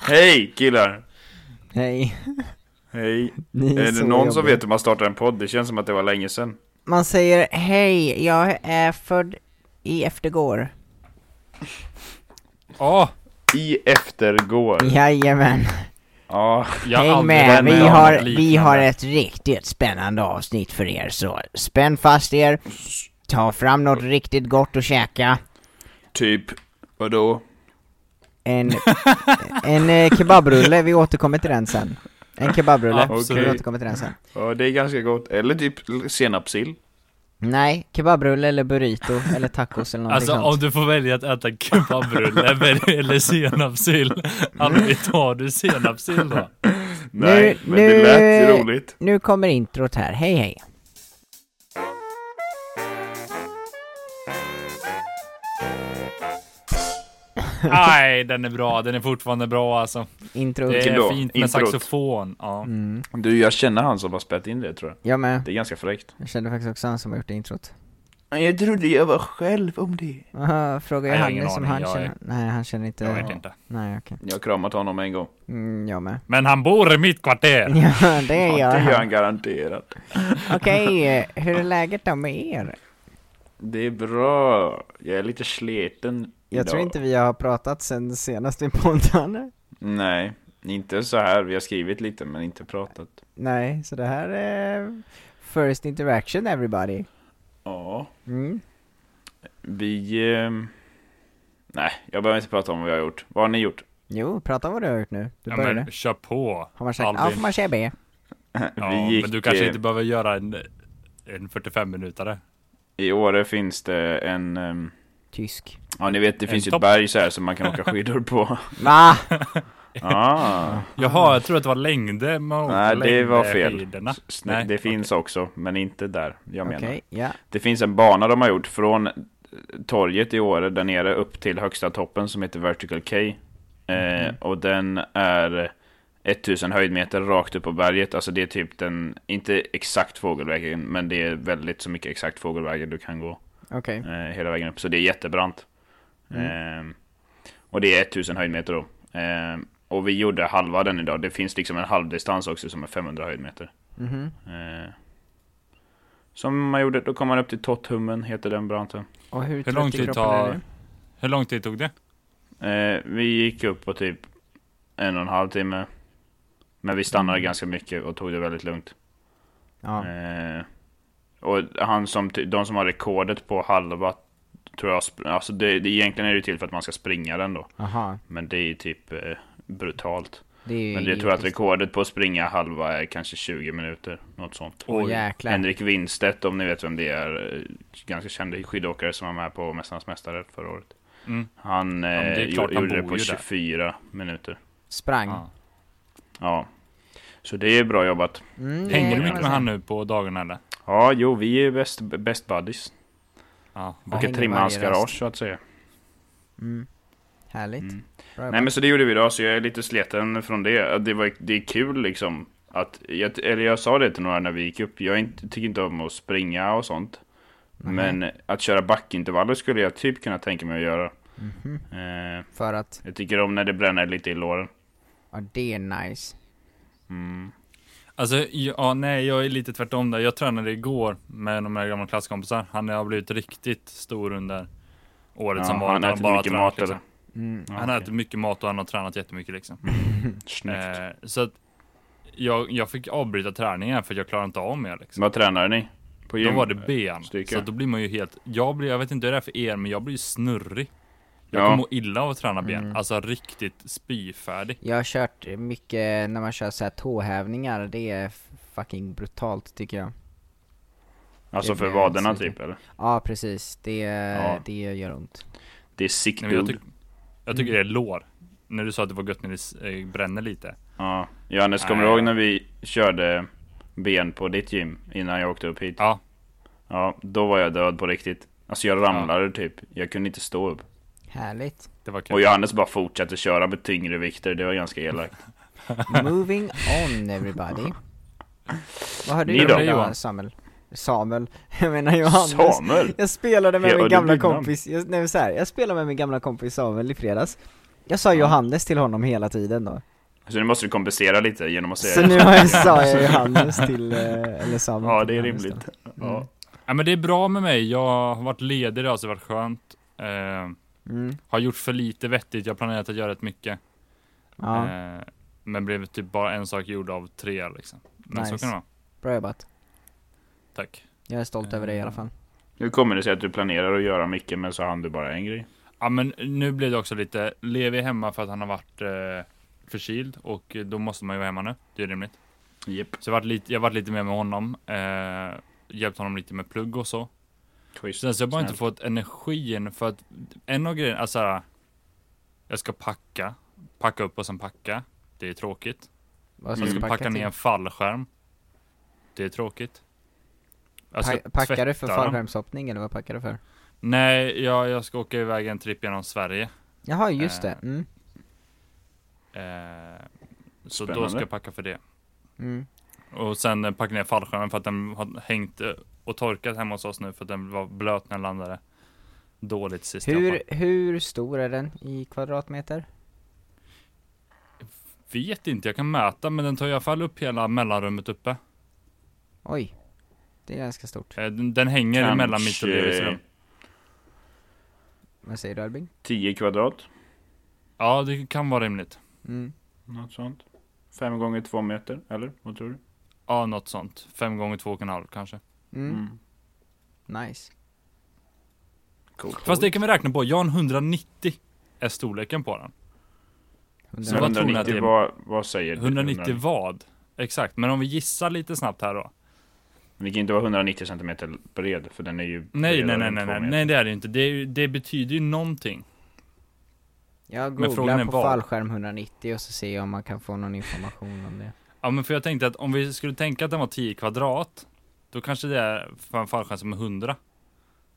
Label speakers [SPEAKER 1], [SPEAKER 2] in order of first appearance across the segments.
[SPEAKER 1] Hej killar!
[SPEAKER 2] Hej.
[SPEAKER 1] Hej.
[SPEAKER 2] Ni
[SPEAKER 1] Är
[SPEAKER 2] så
[SPEAKER 1] det någon som
[SPEAKER 2] jobbiga.
[SPEAKER 1] vet hur man startar en podd? Det känns som att det var länge sedan.
[SPEAKER 2] Man säger hej, jag är född i eftergår.
[SPEAKER 3] Ja,
[SPEAKER 1] I eftergår.
[SPEAKER 2] Mm. Jajamän.
[SPEAKER 1] Ja.
[SPEAKER 3] jag har
[SPEAKER 2] Häng
[SPEAKER 3] aldrig
[SPEAKER 2] med,
[SPEAKER 3] varit
[SPEAKER 1] vänt mig
[SPEAKER 2] vi
[SPEAKER 1] om
[SPEAKER 3] om
[SPEAKER 2] har,
[SPEAKER 3] något
[SPEAKER 2] vi
[SPEAKER 3] liknande.
[SPEAKER 2] har ett riktigt spännande avsnitt för er så spänn fast er, ta fram något riktigt gott att käka,
[SPEAKER 1] Typ, vadå?
[SPEAKER 2] en, en eh, kebabrulle, vi återkommer till den sen. En kebabrulle,
[SPEAKER 1] Absolut.
[SPEAKER 2] vi återkommer till den sen.
[SPEAKER 1] Ja, det är ganska gott. Eller typ l- senapssill.
[SPEAKER 2] Nej, kebabrulle eller burrito eller tacos eller någonting
[SPEAKER 3] Alltså om
[SPEAKER 2] sånt.
[SPEAKER 3] du får välja att äta kebabrulle eller- eller senapssill, aldrig tar du senapssill då?
[SPEAKER 2] Nu-
[SPEAKER 1] Nej, men
[SPEAKER 2] nu-
[SPEAKER 1] det lät ju roligt.
[SPEAKER 2] Nu kommer introt här, hej hej.
[SPEAKER 3] Nej, den är bra, den är fortfarande bra alltså.
[SPEAKER 2] Intro.
[SPEAKER 3] Det
[SPEAKER 1] Då,
[SPEAKER 3] är fint med
[SPEAKER 1] introt.
[SPEAKER 3] saxofon. Ja.
[SPEAKER 2] Mm.
[SPEAKER 1] Du, jag känner han som har spelat in det tror jag.
[SPEAKER 2] Jag med,
[SPEAKER 1] Det är ganska fräckt.
[SPEAKER 2] jag kände faktiskt också han som har gjort introt.
[SPEAKER 1] Jag trodde jag var själv om det.
[SPEAKER 2] Aha, fråga
[SPEAKER 3] Nej, jag har ingen
[SPEAKER 2] Johannes om
[SPEAKER 3] aning,
[SPEAKER 2] han
[SPEAKER 3] jag är-
[SPEAKER 2] känner... Nej, han känner inte...
[SPEAKER 3] Jag vet inte.
[SPEAKER 2] Nej, okej.
[SPEAKER 1] Jag har kramat honom en gång.
[SPEAKER 2] Mm, jag med.
[SPEAKER 3] Men han bor i mitt kvarter!
[SPEAKER 2] Ja, det
[SPEAKER 1] Ja,
[SPEAKER 2] gör
[SPEAKER 1] det gör
[SPEAKER 2] han.
[SPEAKER 1] han garanterat.
[SPEAKER 2] Okej, eh, hur är läget då med er?
[SPEAKER 1] Det är bra. Jag är lite sliten
[SPEAKER 2] Jag
[SPEAKER 1] idag.
[SPEAKER 2] tror inte vi har pratat sen senast vi poddade.
[SPEAKER 1] Nej, inte så här. Vi har skrivit lite men inte pratat.
[SPEAKER 2] Nej, så det här är first interaction everybody.
[SPEAKER 1] Ja,
[SPEAKER 2] Mm.
[SPEAKER 1] vi... ehm, Nej, jag behöver inte prata om vad jag har gjort. Vad har ni gjort?
[SPEAKER 2] Jo, prata om vad du har gjort nu. Du
[SPEAKER 3] Ja,
[SPEAKER 2] började.
[SPEAKER 3] men kör på!
[SPEAKER 2] Har man sagt
[SPEAKER 3] Albin.
[SPEAKER 2] A får man säga B.
[SPEAKER 3] Ja,
[SPEAKER 1] vi gick...
[SPEAKER 3] men du kanske
[SPEAKER 1] eh,
[SPEAKER 3] inte behöver göra en, en 45-minutare.
[SPEAKER 1] I Åre finns det en... ehm,
[SPEAKER 2] Tysk.
[SPEAKER 1] Ja, ni vet det
[SPEAKER 3] En
[SPEAKER 1] finns ju ett
[SPEAKER 3] topp.
[SPEAKER 1] berg så här som man kan åka skidor på.
[SPEAKER 2] Va?
[SPEAKER 1] Ah,
[SPEAKER 3] Jaha, jag tror att det var längder man åkte
[SPEAKER 1] nej, det var fel.
[SPEAKER 3] längdskidorna.
[SPEAKER 1] S-
[SPEAKER 3] Nej,
[SPEAKER 1] det finns också, men inte där. Jag
[SPEAKER 2] Okej,
[SPEAKER 1] menar.
[SPEAKER 2] ja.
[SPEAKER 1] Det finns en bana de har gjort från torget i Åre där nere upp till högsta toppen som heter Vertical K. Eh, Och den är 1000 höjdmeter rakt upp på berget. Alltså det är typ den, inte exakt fågelvägen, men det är väldigt så mycket exakt fågelvägen du kan gå
[SPEAKER 2] Okej. Mm.
[SPEAKER 1] eh, hela vägen upp. Så det är jättebrant. Eh, och det är 1000 höjdmeter då. Eh, och vi gjorde halva den idag. Det finns liksom en halvdistans också som är 500 höjdmeter.
[SPEAKER 2] Mhm.
[SPEAKER 1] Eh, som man gjorde, då kom man upp till Totthummen, heter den branten.
[SPEAKER 2] Och hur,
[SPEAKER 3] Hur
[SPEAKER 2] trött
[SPEAKER 3] lång
[SPEAKER 2] i
[SPEAKER 3] tid
[SPEAKER 2] kroppen
[SPEAKER 3] tar-
[SPEAKER 2] är du?
[SPEAKER 3] Hur lång tid tog det?
[SPEAKER 1] Eh, vi gick upp på typ en och en halv timme. Men vi stannade ganska mycket och tog det väldigt lugnt.
[SPEAKER 2] Mm. Ja.
[SPEAKER 1] Eh, och han som, ty- de som har rekordet på halva, tror jag, sp- alltså det, det, egentligen är det ju till för att man ska springa den då.
[SPEAKER 2] Aha.
[SPEAKER 1] Men det är ju typ eh, brutalt.
[SPEAKER 2] Det är ju
[SPEAKER 1] Men jag tror att
[SPEAKER 2] idiotiskt.
[SPEAKER 1] rekordet på att springa halva är kanske 20 minuter, något sånt.
[SPEAKER 2] Åh jäklar.
[SPEAKER 1] Henrik Winstedt, om ni vet vem det är, eh, ganska känd skidåkare som var med på Mästarnas Mästare förra året.
[SPEAKER 3] Mm.
[SPEAKER 1] Han, eh,
[SPEAKER 3] men det är klart,
[SPEAKER 1] gjo-
[SPEAKER 3] han
[SPEAKER 1] gjorde det
[SPEAKER 3] bor
[SPEAKER 1] på
[SPEAKER 3] ju där.
[SPEAKER 1] 24 minuter.
[SPEAKER 2] Sprang.
[SPEAKER 3] Ja.
[SPEAKER 1] Ja. Så det är bra jobbat.
[SPEAKER 2] Mm, det kan
[SPEAKER 3] Hänger du
[SPEAKER 2] man
[SPEAKER 3] mycket med
[SPEAKER 2] säga.
[SPEAKER 3] han nu på dagarna eller?
[SPEAKER 1] Ja, jo, vi är best, best buddies.
[SPEAKER 3] Ja.
[SPEAKER 1] Brukar
[SPEAKER 2] hänger
[SPEAKER 1] trimma hans
[SPEAKER 2] varje
[SPEAKER 1] garage
[SPEAKER 2] rast.
[SPEAKER 1] så att säga.
[SPEAKER 2] Mm. Härligt.
[SPEAKER 1] Mm.
[SPEAKER 2] Bra
[SPEAKER 1] Nej men så det gjorde vi idag, så jag är lite sliten från det. Det, var, det är kul liksom. Att, jag, eller jag sa det till några när vi gick upp, jag är inte, tycker inte om att springa och sånt.
[SPEAKER 2] Mhm.
[SPEAKER 1] Men att köra backintervaller skulle jag typ kunna tänka mig att göra.
[SPEAKER 2] Mhm.
[SPEAKER 1] Eh,
[SPEAKER 2] För att,
[SPEAKER 1] jag tycker om när det bränner lite i låren.
[SPEAKER 2] ja det är nice.
[SPEAKER 1] Mm.
[SPEAKER 3] Alltså, ja, nej, jag är lite tvärtom där. Jag tränade igår med de här gamla klasskompisar. Han har blivit riktigt stor under året
[SPEAKER 1] Ja,
[SPEAKER 3] som var.
[SPEAKER 1] han
[SPEAKER 3] där
[SPEAKER 1] äter
[SPEAKER 3] bara
[SPEAKER 1] mycket
[SPEAKER 3] tränat,
[SPEAKER 1] mat,
[SPEAKER 3] liksom.
[SPEAKER 2] Mm.
[SPEAKER 1] Ja,
[SPEAKER 3] Han
[SPEAKER 1] okej. Mm,
[SPEAKER 3] har ätit mycket mat och han har tränat jättemycket liksom.
[SPEAKER 1] Snyggt.
[SPEAKER 3] Eh, så att jag, jag fick avbryta träningen för jag klarade inte av mer liksom.
[SPEAKER 1] Vad tränar ni? På
[SPEAKER 3] Då
[SPEAKER 1] gym?
[SPEAKER 3] var det ben.
[SPEAKER 1] styrka.
[SPEAKER 3] Så att då blir man ju helt, jag blir, jag vet inte hur det är för er, men jag blir ju snurrig. Jag
[SPEAKER 1] Ja.
[SPEAKER 3] kommer må illa av att träna ben.
[SPEAKER 2] Mm.
[SPEAKER 3] Alltså riktigt spyfärdig.
[SPEAKER 2] Jag har kört mycket, när man kör så här tåhävningar, det är fucking brutalt tycker jag.
[SPEAKER 1] Alltså
[SPEAKER 2] det
[SPEAKER 1] för
[SPEAKER 2] blir
[SPEAKER 1] vaderna
[SPEAKER 2] svinigt.
[SPEAKER 1] typ eller?
[SPEAKER 2] Ja precis, det,
[SPEAKER 1] Ja.
[SPEAKER 2] det gör ont.
[SPEAKER 1] Det är sick
[SPEAKER 3] Nej, men jag,
[SPEAKER 1] dude.
[SPEAKER 3] tyck, jag tycker det
[SPEAKER 2] Mm.
[SPEAKER 3] är lår. När du sa att det var gött när det s- eh, bränner lite.
[SPEAKER 1] Ja. Johannes, kommer du
[SPEAKER 3] Nej.
[SPEAKER 1] ihåg när vi körde ben på ditt gym innan jag åkte upp hit?
[SPEAKER 3] Ja,
[SPEAKER 1] Ja, då var jag död på riktigt. Alltså jag ramlade typ. Jag kunde inte stå upp.
[SPEAKER 2] Härligt.
[SPEAKER 3] det var kul.
[SPEAKER 1] Och Johannes bara fortsatte köra med tyngre vikter. Det var ganska elakt.
[SPEAKER 2] Moving on everybody. Vad har du
[SPEAKER 1] Ni
[SPEAKER 2] gjort
[SPEAKER 1] då?
[SPEAKER 2] idag
[SPEAKER 3] Johan?
[SPEAKER 2] Samuel? Samuel? Jag menar Johannes.
[SPEAKER 1] Samuel!
[SPEAKER 2] Jag spelade med
[SPEAKER 1] Ja,
[SPEAKER 2] min
[SPEAKER 1] det är
[SPEAKER 2] gamla
[SPEAKER 1] ditt namn.
[SPEAKER 2] kompis, jag, nej, men så här, jag spelade med min gamla kompis Samuel i fredags Jag sa Johannes till honom hela tiden då.
[SPEAKER 1] Så nu måste du kompensera lite genom att säga
[SPEAKER 2] Så nu har jag, sa jag Johannes till, eh, eller Sam
[SPEAKER 1] Ja,
[SPEAKER 2] till
[SPEAKER 1] det är
[SPEAKER 2] Johannes
[SPEAKER 1] rimligt.
[SPEAKER 2] då.
[SPEAKER 1] Ja.
[SPEAKER 3] Ja, men det är bra med mig. Jag har varit ledig idag så det har varit skönt. Eh,
[SPEAKER 2] Mm.
[SPEAKER 3] har gjort för lite vettigt. Jag har planerat att göra rätt mycket.
[SPEAKER 2] Ja,
[SPEAKER 3] Eh, men blev typ bara en sak gjord av tre liksom. Men så
[SPEAKER 2] Nice.
[SPEAKER 3] kan det vara.
[SPEAKER 2] bra jobbat.
[SPEAKER 3] Tack.
[SPEAKER 2] Jag är stolt över dig i alla fall.
[SPEAKER 1] Nu kommer det sig att du planerar att göra mycket, men så hann du bara en grej.
[SPEAKER 3] Ja men nu blev det också lite, Levi är hemma för att han har varit eh, förkyld och då måste man ju vara hemma nu. Det är rimligt.
[SPEAKER 1] Japp,
[SPEAKER 3] Så jag har varit lite, jag har varit lite mer med honom. Eh, hjälpt honom lite med plugg och så.
[SPEAKER 1] schysst.
[SPEAKER 3] Sen så har jag bara inte
[SPEAKER 1] Snällt.
[SPEAKER 3] fått energin för att en av grejerna, alltså här, jag ska packa, packa upp och sen packa. Det är tråkigt.
[SPEAKER 2] Vad
[SPEAKER 3] Jag
[SPEAKER 1] Mm.
[SPEAKER 3] ska packa,
[SPEAKER 2] Alltså, till?
[SPEAKER 3] ner en fallskärm. Det är tråkigt. Alltså, Jag ska
[SPEAKER 2] Pa- packar du för
[SPEAKER 3] tvätta dem.
[SPEAKER 2] fallskärmshoppning eller vad packar du för?
[SPEAKER 3] Nej, jag, jag ska åka iväg en tripp genom Sverige.
[SPEAKER 2] Jaha, just det.
[SPEAKER 3] Eh.
[SPEAKER 2] Mm.
[SPEAKER 3] Eh, så då
[SPEAKER 1] Spännande.
[SPEAKER 3] ska jag packa för det.
[SPEAKER 2] Mm.
[SPEAKER 3] Och sen eh, packa ner fallskärmen för att den har hängt eh, och torkat hemma hos oss nu för att den var blöt när den landade. Dåligt sist jag
[SPEAKER 2] Hur, hur stor är den i kvadratmeter?
[SPEAKER 3] Vet inte, jag kan mäta men den tar i alla fall upp hela mellanrummet uppe.
[SPEAKER 2] Oj, det är ganska stort.
[SPEAKER 3] Eh, Den, den hänger
[SPEAKER 1] Kanske
[SPEAKER 3] mellan mitt och Levis rum.
[SPEAKER 2] Vad säger du Albin?
[SPEAKER 1] 10 kvadrat.
[SPEAKER 3] Ja, det kan vara rimligt.
[SPEAKER 2] Mm.
[SPEAKER 1] Något sånt. 5 gånger 2 meter, eller? Vad tror du?
[SPEAKER 3] Ja, något sånt. Fem gånger två och en halv kanske.
[SPEAKER 2] Mm. Nice.
[SPEAKER 1] Coolt.
[SPEAKER 3] Fast det kan vi räkna på. Jag har en 190 är storleken på den.
[SPEAKER 1] Så
[SPEAKER 3] vad tror ni att
[SPEAKER 1] 190,
[SPEAKER 3] det är?
[SPEAKER 1] vad, vad säger du?
[SPEAKER 3] 190 vad? Exakt, men om vi gissar lite snabbt här då.
[SPEAKER 1] Den kan ju inte vara 190 centimeter bred, för den är ju
[SPEAKER 3] Nej,
[SPEAKER 1] bredare
[SPEAKER 3] nej, nej,
[SPEAKER 1] än
[SPEAKER 3] nej,
[SPEAKER 1] två
[SPEAKER 3] nej,
[SPEAKER 1] meter.
[SPEAKER 3] nej det är det inte. Det, är ju- det betyder ju någonting.
[SPEAKER 2] Jag
[SPEAKER 3] Men frågan
[SPEAKER 2] googlar
[SPEAKER 3] är
[SPEAKER 2] på
[SPEAKER 3] vad?
[SPEAKER 2] fallskärm 190 och så ser jag om man kan få någon information om det.
[SPEAKER 3] Ja, men för jag tänkte att om vi skulle tänka att den var 10 kvadrat, då kanske det är för en fallskärm som är 100.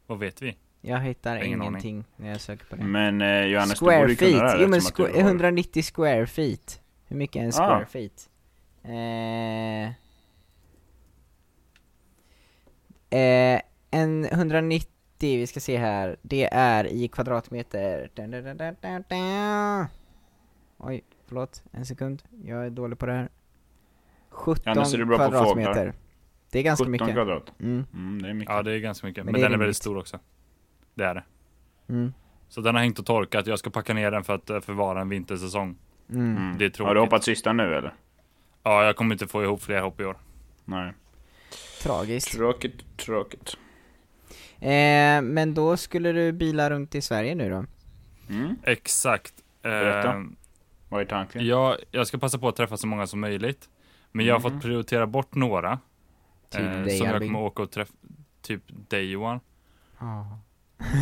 [SPEAKER 3] Vad vet vi?
[SPEAKER 2] Jag hittar
[SPEAKER 3] Ingen aning.
[SPEAKER 2] ingenting när jag söker på det.
[SPEAKER 1] Men eh, Johannes, du borde
[SPEAKER 2] square
[SPEAKER 1] ju kunna det
[SPEAKER 2] feet,
[SPEAKER 1] här
[SPEAKER 2] jo men
[SPEAKER 1] eftersom att
[SPEAKER 2] squ-
[SPEAKER 1] du har-
[SPEAKER 2] 190 square feet. Hur mycket är en square
[SPEAKER 1] Ah.
[SPEAKER 2] feet? Eh, eh, en 190, vi ska se här, det är i kvadratmeter. Dun, dun, dun, dun, dun, dun. Oj, förlåt, en sekund. Jag är dålig på det här. 17
[SPEAKER 1] Anders, är du bra på fåglar?
[SPEAKER 2] kvadratmeter. Det är ganska
[SPEAKER 1] 17
[SPEAKER 2] mycket.
[SPEAKER 1] kvadrat.
[SPEAKER 2] Mm,
[SPEAKER 1] Mm, det är mycket.
[SPEAKER 3] Ja, det är ganska mycket.
[SPEAKER 2] Men
[SPEAKER 3] Men,
[SPEAKER 2] det är
[SPEAKER 3] den är väldigt
[SPEAKER 2] rimligt.
[SPEAKER 3] stor också. Det är det.
[SPEAKER 2] mm,
[SPEAKER 3] Så den har hängt och torkat. Jag ska packa ner den för att eh, förvara en vintersäsong.
[SPEAKER 2] mm.
[SPEAKER 1] Mm.
[SPEAKER 3] det är tråkigt.
[SPEAKER 1] Har du hoppat sista nu eller?
[SPEAKER 3] Ja, jag kommer inte få ihop fler hopp i år.
[SPEAKER 1] Nej.
[SPEAKER 2] Tragiskt.
[SPEAKER 1] Tråkigt, tråkigt.
[SPEAKER 2] Eh, men då skulle du bila runt i Sverige nu då?
[SPEAKER 1] Mm.
[SPEAKER 3] Exakt.
[SPEAKER 1] Berätta.
[SPEAKER 3] Eh,
[SPEAKER 1] Vad är tanken?
[SPEAKER 3] jag, jag ska passa på att träffa så många som möjligt. Men jag har
[SPEAKER 1] Mhm.
[SPEAKER 3] fått prioritera bort några.
[SPEAKER 2] Till
[SPEAKER 3] eh,
[SPEAKER 2] dig,
[SPEAKER 3] som jag
[SPEAKER 2] Albin.
[SPEAKER 3] kommer åka och träffa. Typ dig Johan.
[SPEAKER 2] Ja.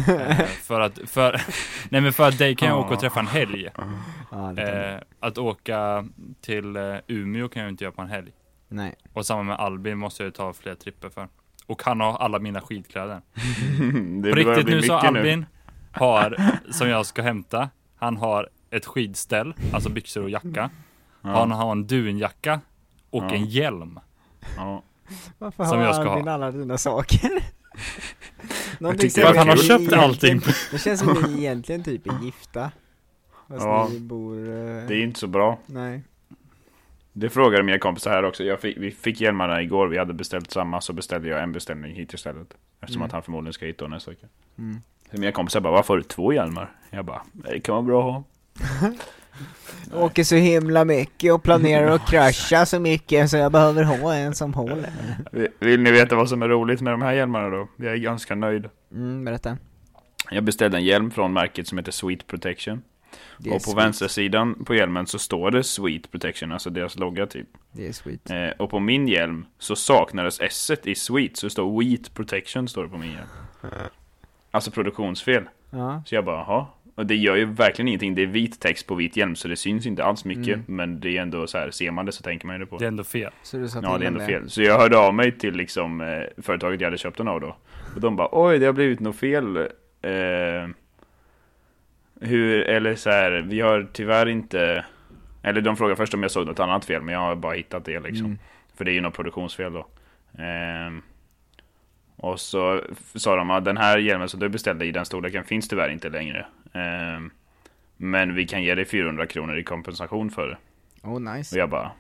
[SPEAKER 3] Eh, för att, för, nej men för att dig kan jag åka
[SPEAKER 1] Ah.
[SPEAKER 3] och träffa en helg.
[SPEAKER 2] Ja, det kan du.
[SPEAKER 3] Eh, att åka till eh, Umeå kan jag ju inte göra på en helg.
[SPEAKER 2] Nej.
[SPEAKER 3] Och samma med Albin måste jag ju ta fler tripper för. Och han har alla mina skidkläder.
[SPEAKER 1] det börjar
[SPEAKER 3] På riktigt
[SPEAKER 1] bli
[SPEAKER 3] nu så
[SPEAKER 1] mycket
[SPEAKER 3] Albin har, som jag ska hämta, han har ett skidställ, alltså byxor och jacka.
[SPEAKER 1] Ja.
[SPEAKER 3] Han har en dunjacka och
[SPEAKER 1] Ja.
[SPEAKER 3] en hjälm.
[SPEAKER 1] Ja.
[SPEAKER 2] Varför
[SPEAKER 3] Som
[SPEAKER 2] har
[SPEAKER 3] jag ska
[SPEAKER 2] Albin alla dina saker? Någonting
[SPEAKER 1] tyckte
[SPEAKER 2] som
[SPEAKER 1] att
[SPEAKER 2] vi
[SPEAKER 1] han har
[SPEAKER 2] egentligen-
[SPEAKER 3] köpt allting.
[SPEAKER 2] Det känns som att ni egentligen typ är gifta. Fast
[SPEAKER 1] Ja.
[SPEAKER 2] ni bor... eh,
[SPEAKER 1] Det är inte så bra.
[SPEAKER 2] Nej.
[SPEAKER 1] Det frågade mina kompisar här också. Jag fick, vi fick hjälmarna igår, vi hade beställt samma, så beställde jag en beställning hit istället. Eftersom
[SPEAKER 2] Mm.
[SPEAKER 1] att han förmodligen ska hit då nästa vecka.
[SPEAKER 2] Mm.
[SPEAKER 1] Så Mina kompisar bara, varför har du två hjälmar? Jag bara, det kan vara bra att ha.
[SPEAKER 2] Åker så himla mycket och planerar att krascha så mycket så jag behöver ha en som håller.
[SPEAKER 1] Vill- Vill ni veta vad som är roligt med de här hjälmarna då? Jag är ganska nöjd.
[SPEAKER 2] Mm, berätta.
[SPEAKER 1] Jag beställde en hjälm från märket som heter Sweet Protection.
[SPEAKER 2] Det är
[SPEAKER 1] Och på
[SPEAKER 2] sweet.
[SPEAKER 1] vänstersidan på hjälmen så står det Sweet Protection, alltså deras logga typ.
[SPEAKER 2] Det är sweet.
[SPEAKER 1] Eh, och på min hjälm så saknades s i Sweet, så det står Wheat Protection står det på min hjälm. Alltså produktionsfel.
[SPEAKER 2] Ja.
[SPEAKER 1] Så jag bara, jaha. Och det gör ju verkligen ingenting, det är vit text på vit hjälm så det syns inte alls mycket.
[SPEAKER 2] Mm.
[SPEAKER 1] Men det är ändå så här, ser man det så tänker man ju det på.
[SPEAKER 3] Det är ändå fel.
[SPEAKER 2] Så du sa
[SPEAKER 1] Ja,
[SPEAKER 2] till
[SPEAKER 1] det är
[SPEAKER 2] om
[SPEAKER 1] ändå fel. Så jag hörde av mig till liksom, eh, företaget jag hade köpt den av då. Och de bara, oj, det har blivit något fel. Eh, hur, eller så här, vi har tyvärr inte... Eller de frågade först om jag såg något annat fel, men jag har bara hittat det liksom.
[SPEAKER 2] Mm.
[SPEAKER 1] För det är ju något produktionsfel då. Ehm, och så f- sa de att den här hjälmen som du beställde i den storleken finns tyvärr inte längre. Ehm, Men vi kan ge dig 400 kronor i kompensation för det.
[SPEAKER 2] Oh
[SPEAKER 1] Och
[SPEAKER 2] nice.
[SPEAKER 1] jag bara...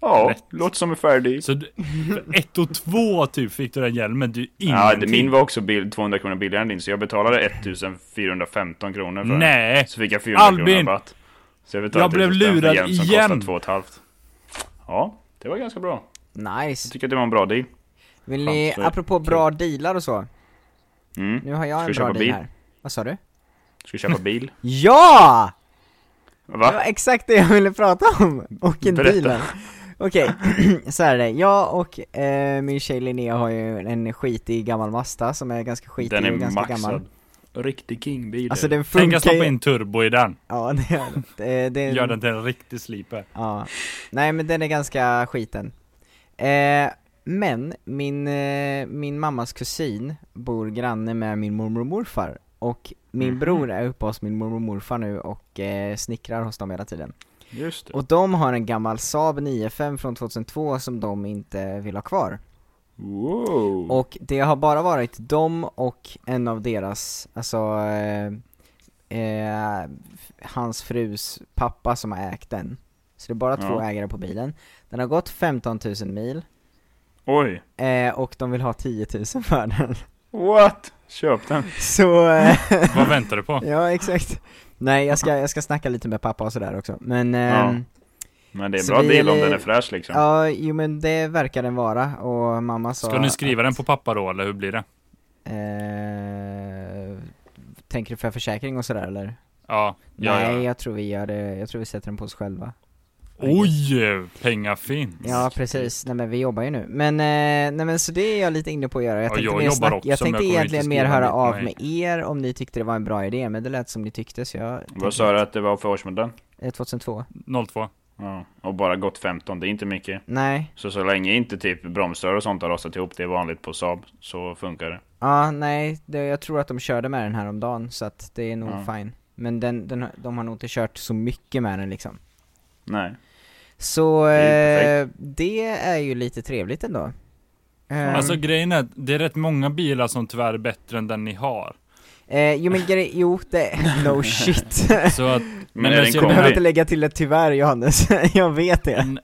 [SPEAKER 1] Ja,
[SPEAKER 3] Rätt.
[SPEAKER 1] låt som en färdig.
[SPEAKER 3] Så du, för ett och två typ fick du den hjälmen, du
[SPEAKER 1] Ja,
[SPEAKER 3] ingenting.
[SPEAKER 1] det- min var också bill- 200 kronor billigare än din, så jag betalade 1415 kronor för den.
[SPEAKER 3] Nej!
[SPEAKER 1] Så fick jag 400 kronor
[SPEAKER 3] Albin!
[SPEAKER 1] rabatt. Så jag betalade
[SPEAKER 3] Jag
[SPEAKER 1] tusen spänn
[SPEAKER 3] blev
[SPEAKER 1] för
[SPEAKER 3] lurad
[SPEAKER 1] en som
[SPEAKER 3] igen.
[SPEAKER 1] kostade två och ett halvt. Ja, det var ganska bra. Jag
[SPEAKER 2] Nice.
[SPEAKER 1] tycker att det var en bra deal.
[SPEAKER 2] Vill ni,
[SPEAKER 1] Skönt för-
[SPEAKER 2] apropå bra dealar och så.
[SPEAKER 1] Mm.
[SPEAKER 2] Nu har jag
[SPEAKER 1] Ska
[SPEAKER 2] en
[SPEAKER 1] vi köpa
[SPEAKER 2] bra deal
[SPEAKER 1] bil?
[SPEAKER 2] här. Vad sa du?
[SPEAKER 1] Ska vi köpa bil?
[SPEAKER 2] Ja! Det var
[SPEAKER 1] Va?
[SPEAKER 2] exakt det jag ville prata om! Och en
[SPEAKER 1] Berätta.
[SPEAKER 2] deal här. Okej, så här är det. Jag och eh, min tjej Linnea har ju en skitig gammal Mazda som är ganska skitig
[SPEAKER 1] Den
[SPEAKER 2] och
[SPEAKER 1] är
[SPEAKER 2] ganska gammal.
[SPEAKER 1] maxad. Riktig kingbil.
[SPEAKER 2] Alltså den
[SPEAKER 3] Tänk att
[SPEAKER 2] funkar
[SPEAKER 3] stoppa
[SPEAKER 2] ju...
[SPEAKER 3] in turbo i den.
[SPEAKER 2] Ja, det är det. det är-
[SPEAKER 3] Gör den till en riktig sliper.
[SPEAKER 2] Ja. Nej men den är ganska skiten. Eh, men min, eh, min mammas kusin bor granne med min mormor och morfar. Och min
[SPEAKER 1] Mhm.
[SPEAKER 2] bror är uppe hos min mormor och morfar nu och eh, snickrar hos dem hela tiden.
[SPEAKER 1] Just det.
[SPEAKER 2] Och de har en gammal Saab 95 från 2002 som de inte vill ha kvar.
[SPEAKER 1] Wow.
[SPEAKER 2] Och det har bara varit de och en av deras, alltså eh, eh, f- hans frus pappa som har ägt den. Så det är bara två
[SPEAKER 1] Ja.
[SPEAKER 2] ägare på bilen. Den har gått 15 000 mil
[SPEAKER 1] Oj.
[SPEAKER 2] eh, och de vill ha 10 000 för den.
[SPEAKER 1] What? Köp den.
[SPEAKER 2] Så, eh,
[SPEAKER 3] Vad väntar du på?
[SPEAKER 2] ja exakt. Nej jag ska, jag ska snacka lite med pappa och sådär också. Men
[SPEAKER 1] Ja.
[SPEAKER 2] ehm,
[SPEAKER 1] Men det är en
[SPEAKER 2] Så
[SPEAKER 1] bra
[SPEAKER 2] vi-
[SPEAKER 1] deal om den är fräsch liksom.
[SPEAKER 2] ja, jo men det verkar den vara och mamma sa
[SPEAKER 3] Ska ni skriva den på papper då eller hur blir det?
[SPEAKER 2] eh, Tänker du för försäkring och sådär eller?
[SPEAKER 3] Ja, ja,
[SPEAKER 2] Nej,
[SPEAKER 3] ja.
[SPEAKER 2] jag tror vi gör det, jag tror vi sätter den på oss själva
[SPEAKER 3] Oj! Pengar finns.
[SPEAKER 2] Ja precis, nej men vi jobbar ju nu Men, eh, nej men så det är jag lite inne på att göra Jag
[SPEAKER 3] Ja,
[SPEAKER 2] tänkte,
[SPEAKER 3] jag
[SPEAKER 2] mer
[SPEAKER 3] jobbar
[SPEAKER 2] snack-
[SPEAKER 3] också,
[SPEAKER 2] jag
[SPEAKER 3] men jag
[SPEAKER 2] tänkte
[SPEAKER 3] kommer inte
[SPEAKER 2] egentligen mer
[SPEAKER 3] skriva
[SPEAKER 2] höra
[SPEAKER 3] mitt
[SPEAKER 2] av
[SPEAKER 3] nej.
[SPEAKER 2] med er om ni tyckte det var en bra idé Men det lät som ni tyckte så jag
[SPEAKER 1] Vad sa du att det var för årsmodell?
[SPEAKER 2] tänkte- eh, 2002?
[SPEAKER 3] 02.
[SPEAKER 1] Ja. Och bara gått 15, det är inte mycket.
[SPEAKER 2] Nej,
[SPEAKER 1] Så så länge inte typ bromsar och sånt har rasat ihop, det är vanligt på Saab, så funkar det.
[SPEAKER 2] ja nej, det, jag tror att de körde med den här om dagen så att det är nog
[SPEAKER 1] Ja.
[SPEAKER 2] fine Men den, den, har- de har nog inte kört så mycket med den liksom
[SPEAKER 1] Nej.
[SPEAKER 2] Så,
[SPEAKER 1] Det är
[SPEAKER 2] eh, det är ju lite trevligt ändå Ehm,
[SPEAKER 3] Alltså grejen är att det är rätt många bilar som tyvärr är bättre än den ni har.
[SPEAKER 2] eh, jo men grej, jo det, no shit
[SPEAKER 3] Så att,
[SPEAKER 1] Men,
[SPEAKER 3] Men
[SPEAKER 1] är det
[SPEAKER 3] alltså,
[SPEAKER 1] en
[SPEAKER 3] jag
[SPEAKER 2] Jag behöver
[SPEAKER 1] kombi?
[SPEAKER 2] inte lägga till ett tyvärr Johannes, jag vet det.
[SPEAKER 3] n-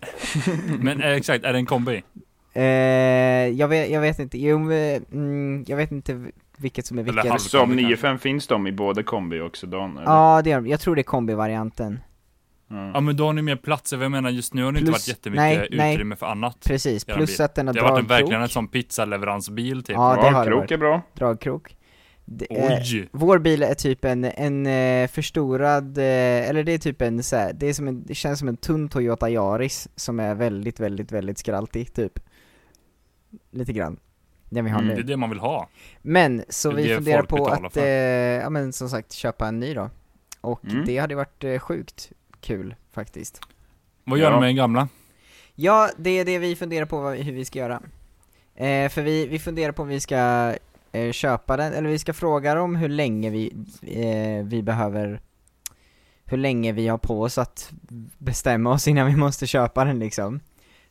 [SPEAKER 3] men eh, exakt, är det
[SPEAKER 2] Mm.
[SPEAKER 3] en kombi?
[SPEAKER 2] Eh, jag, vet, jag vet inte, jo, eh, mm, jag vet inte vilket som är
[SPEAKER 3] Eller
[SPEAKER 2] vilket. Ja
[SPEAKER 3] halv-
[SPEAKER 1] Som 9.5 finns de i både kombi och sedan? eller?
[SPEAKER 2] det gör de. jag tror det är kombivarianten.
[SPEAKER 3] Ja men då har ni mer plats, jag menar just nu har det inte
[SPEAKER 2] Plus-
[SPEAKER 3] varit jättemycket
[SPEAKER 2] nej, nej.
[SPEAKER 3] utrymme för annat.
[SPEAKER 2] Precis,
[SPEAKER 3] Gör en
[SPEAKER 2] plus
[SPEAKER 3] bil.
[SPEAKER 2] att den har
[SPEAKER 3] Det har varit en,
[SPEAKER 2] dragkrok.
[SPEAKER 3] verkligen en sån pizzaleveransbil typ.
[SPEAKER 2] Ja, det har det
[SPEAKER 1] krok
[SPEAKER 2] varit.
[SPEAKER 1] är bra.
[SPEAKER 2] Dragkrok. Det, eh,
[SPEAKER 3] Oj!
[SPEAKER 2] vår bil är typ en, en eh, förstorad, eh, eller det är typ en så här, det, är som en, det känns som en tunn Toyota Yaris som är väldigt, väldigt, väldigt skraltig typ. Lite grann. Den vi har
[SPEAKER 1] Mm,
[SPEAKER 2] nu.
[SPEAKER 3] Det är det man vill ha.
[SPEAKER 2] Men så
[SPEAKER 3] Det är
[SPEAKER 2] vi
[SPEAKER 3] det
[SPEAKER 2] funderar
[SPEAKER 3] folk
[SPEAKER 2] på
[SPEAKER 3] betalar
[SPEAKER 2] att,
[SPEAKER 3] för.
[SPEAKER 2] eh, ja men som sagt köpa en ny då. Och
[SPEAKER 1] Mm.
[SPEAKER 2] det hade ju varit eh, sjukt kul faktiskt.
[SPEAKER 3] Vad gör
[SPEAKER 1] Ja.
[SPEAKER 3] de med den gamla?
[SPEAKER 2] Ja, det är det vi funderar på vad, hur vi ska göra. Eh, för vi, vi funderar på om vi ska eh, köpa den, eller vi ska fråga dem hur länge vi, eh, vi behöver, hur länge vi har på oss att bestämma oss innan vi måste köpa den liksom.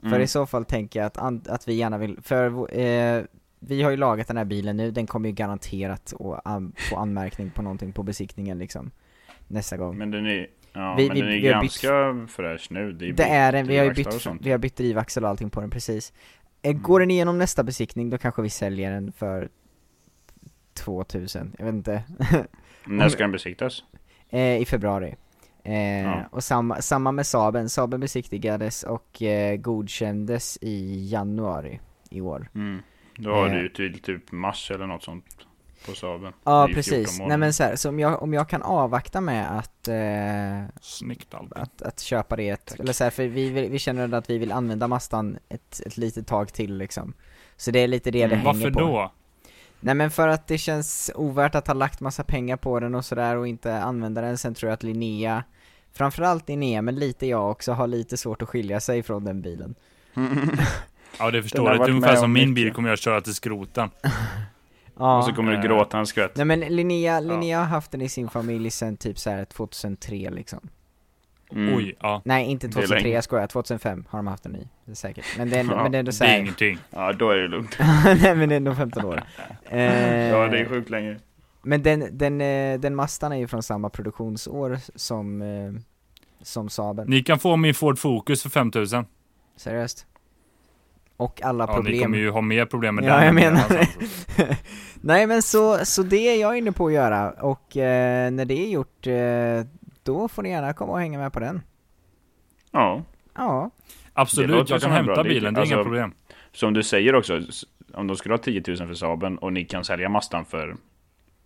[SPEAKER 2] För i
[SPEAKER 1] Mm.
[SPEAKER 2] så fall tänker jag att, an- att vi gärna vill, för vå- eh, vi har ju lagat den här bilen nu, den kommer ju garanterat att an- få anmärkning på någonting på besiktningen liksom Nästa gång
[SPEAKER 1] Men den är, ja,
[SPEAKER 2] Vi-
[SPEAKER 1] men
[SPEAKER 2] vi-
[SPEAKER 1] den är
[SPEAKER 2] vi har bytt-
[SPEAKER 1] ganska fräsch nu. Det är,
[SPEAKER 2] Det är den, vi har ju
[SPEAKER 1] drivaxlar och
[SPEAKER 2] bytt,
[SPEAKER 1] sånt. Mm.
[SPEAKER 2] vi har bytt drivaxel och allting på den precis Eh, Går den igenom nästa besiktning då kanske vi säljer den för 2000, jag vet inte,
[SPEAKER 1] När ska den besiktas?
[SPEAKER 2] eh, i februari Eh,
[SPEAKER 1] Ja.
[SPEAKER 2] Och samma, samma med Saaben, Saaben besiktigades och eh, godkändes i januari i år
[SPEAKER 1] Mm. Då har
[SPEAKER 2] Eh.
[SPEAKER 1] du ju till typ mars eller något sånt på Saaben.
[SPEAKER 2] Ja
[SPEAKER 1] Det är ju 14
[SPEAKER 2] precis,
[SPEAKER 1] månader.
[SPEAKER 2] nej men så, här, så om, jag, om jag kan avvakta med att, eh,
[SPEAKER 3] Snyggt Albin.
[SPEAKER 2] att, att köpa det, ett, eller så här, för vi, vill- vi känner ändå att vi vill använda Mastan ett, ett litet tag till liksom Så det är lite det det
[SPEAKER 1] Mm.
[SPEAKER 2] hänger
[SPEAKER 3] Varför
[SPEAKER 2] på
[SPEAKER 3] då?
[SPEAKER 2] Nej men för att det känns ovärt att ha lagt massa pengar på den och sådär och inte använda den, sen tror jag att Linnea Framförallt Linnea, men lite jag också, har lite svårt att skilja sig från den bilen
[SPEAKER 3] Ja det
[SPEAKER 1] Den
[SPEAKER 3] förstår
[SPEAKER 1] har
[SPEAKER 3] jag, Det är
[SPEAKER 1] varit
[SPEAKER 3] ungefär
[SPEAKER 1] med
[SPEAKER 3] som
[SPEAKER 1] om
[SPEAKER 3] min
[SPEAKER 1] mycket.
[SPEAKER 3] bil kommer jag köra till skroten.
[SPEAKER 2] Ja
[SPEAKER 1] Och så kommer du
[SPEAKER 3] Eh.
[SPEAKER 1] gråta en skvätt.
[SPEAKER 2] Nej men Linnea, Linnea har haft den i sin familj sen typ så här 2003 liksom
[SPEAKER 1] Mm.
[SPEAKER 3] Oj, ja.
[SPEAKER 2] Nej inte
[SPEAKER 1] Det är
[SPEAKER 2] 2003,
[SPEAKER 1] länge.
[SPEAKER 2] jag skojar, 2005 har de haft en ny, det är säkert. Men det är,
[SPEAKER 1] Ja,
[SPEAKER 2] men det är ändå
[SPEAKER 3] Det är
[SPEAKER 2] såhär,
[SPEAKER 3] ingenting.
[SPEAKER 1] Ja, då är det lugnt.
[SPEAKER 2] nej men det är nog 15 år eh,
[SPEAKER 1] Ja, det är sjukt länge.
[SPEAKER 2] Men den, den, eh, den Mastan är ju från samma produktionsår som, eh, som Saaben.
[SPEAKER 3] Ni kan få min Ford Focus för 5000.
[SPEAKER 2] Seriöst. Och alla
[SPEAKER 3] Ja, ni
[SPEAKER 2] problem.
[SPEAKER 3] kommer ju ha mer problem med
[SPEAKER 2] Ja,
[SPEAKER 3] den.
[SPEAKER 2] jag menar
[SPEAKER 3] än
[SPEAKER 2] det.
[SPEAKER 3] den, alltså.
[SPEAKER 2] Nej men så, så det är jag inne på att göra och eh, när det är gjort eh, då får ni gärna komma och hänga med på den.
[SPEAKER 1] Ja.
[SPEAKER 2] Ja,
[SPEAKER 1] Det
[SPEAKER 3] Absolut,
[SPEAKER 1] låter
[SPEAKER 3] jag
[SPEAKER 1] som
[SPEAKER 3] kan
[SPEAKER 1] en bra
[SPEAKER 3] hämta
[SPEAKER 1] deal.
[SPEAKER 3] bilen, det är
[SPEAKER 1] Alltså-
[SPEAKER 3] inga problem.
[SPEAKER 1] Som du säger också, s- om de skulle ha 10 000 för Saben och ni kan sälja Mastan för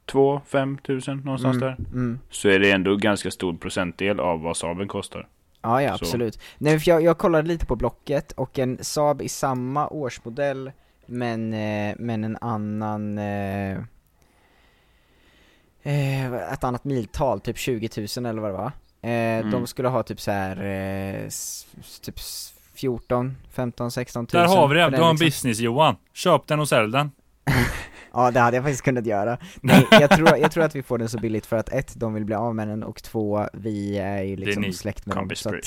[SPEAKER 1] 2-5 tusen någonstans där.
[SPEAKER 2] mm.
[SPEAKER 1] Så är det ändå ganska stor procentdel av vad Saben kostar.
[SPEAKER 2] ja, ja
[SPEAKER 1] Så.
[SPEAKER 2] absolut. Nej, för jag, jag kollade lite på Blocket och en Saab i samma årsmodell men, eh, men en annan eh, eh, ett annat miltal, typ 20 000 eller vad det var. Eh,
[SPEAKER 1] Mm.
[SPEAKER 2] De skulle ha typ så här eh, s- s- typ s- 14, 15, 16 000
[SPEAKER 3] Där har vi
[SPEAKER 2] för
[SPEAKER 3] det,
[SPEAKER 2] den
[SPEAKER 3] du har en
[SPEAKER 2] liksom.
[SPEAKER 3] business Johan. Köp den och sälj den.
[SPEAKER 2] Ja det hade jag faktiskt kunnat göra. Nej, jag tror, jag tror att vi får den så billigt för att ett, de vill bli av med den och två, vi är ju liksom
[SPEAKER 3] ni,
[SPEAKER 2] släkt med dem.
[SPEAKER 1] Compis
[SPEAKER 2] Så att, Äh.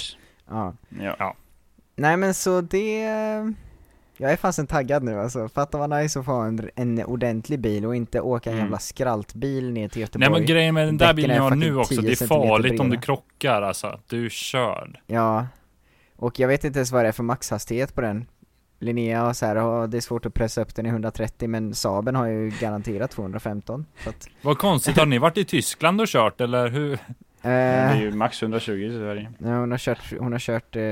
[SPEAKER 1] Breeze.
[SPEAKER 2] ja.
[SPEAKER 1] Ja.
[SPEAKER 2] Nej men så det... Jag är fasen taggad nu alltså. Fatta vad nice att få en, en ordentlig bil och inte åka en
[SPEAKER 1] Mm.
[SPEAKER 2] jävla skraltbil ner till
[SPEAKER 3] Nej
[SPEAKER 2] Göteborg.
[SPEAKER 3] men grejen med den där
[SPEAKER 2] Däcken
[SPEAKER 3] bilen jag
[SPEAKER 2] är
[SPEAKER 3] har nu
[SPEAKER 2] fucking
[SPEAKER 3] också,
[SPEAKER 2] 10
[SPEAKER 3] det är
[SPEAKER 2] centimeter
[SPEAKER 3] farligt om du
[SPEAKER 2] breda.
[SPEAKER 3] krockar alltså. Du är körd.
[SPEAKER 2] Ja. Och jag vet inte ens vad det är för maxhastighet på den. Linnea har så här, "Ja, det är svårt att pressa upp den i 130 men Saben har ju garanterat 215. Så att,
[SPEAKER 3] Vad konstigt, har ni varit i Tyskland och kört eller hur?
[SPEAKER 1] Det
[SPEAKER 2] eh,
[SPEAKER 1] är ju max 120 i Sverige.
[SPEAKER 2] Ja, hon har kört, hon har kört, eh,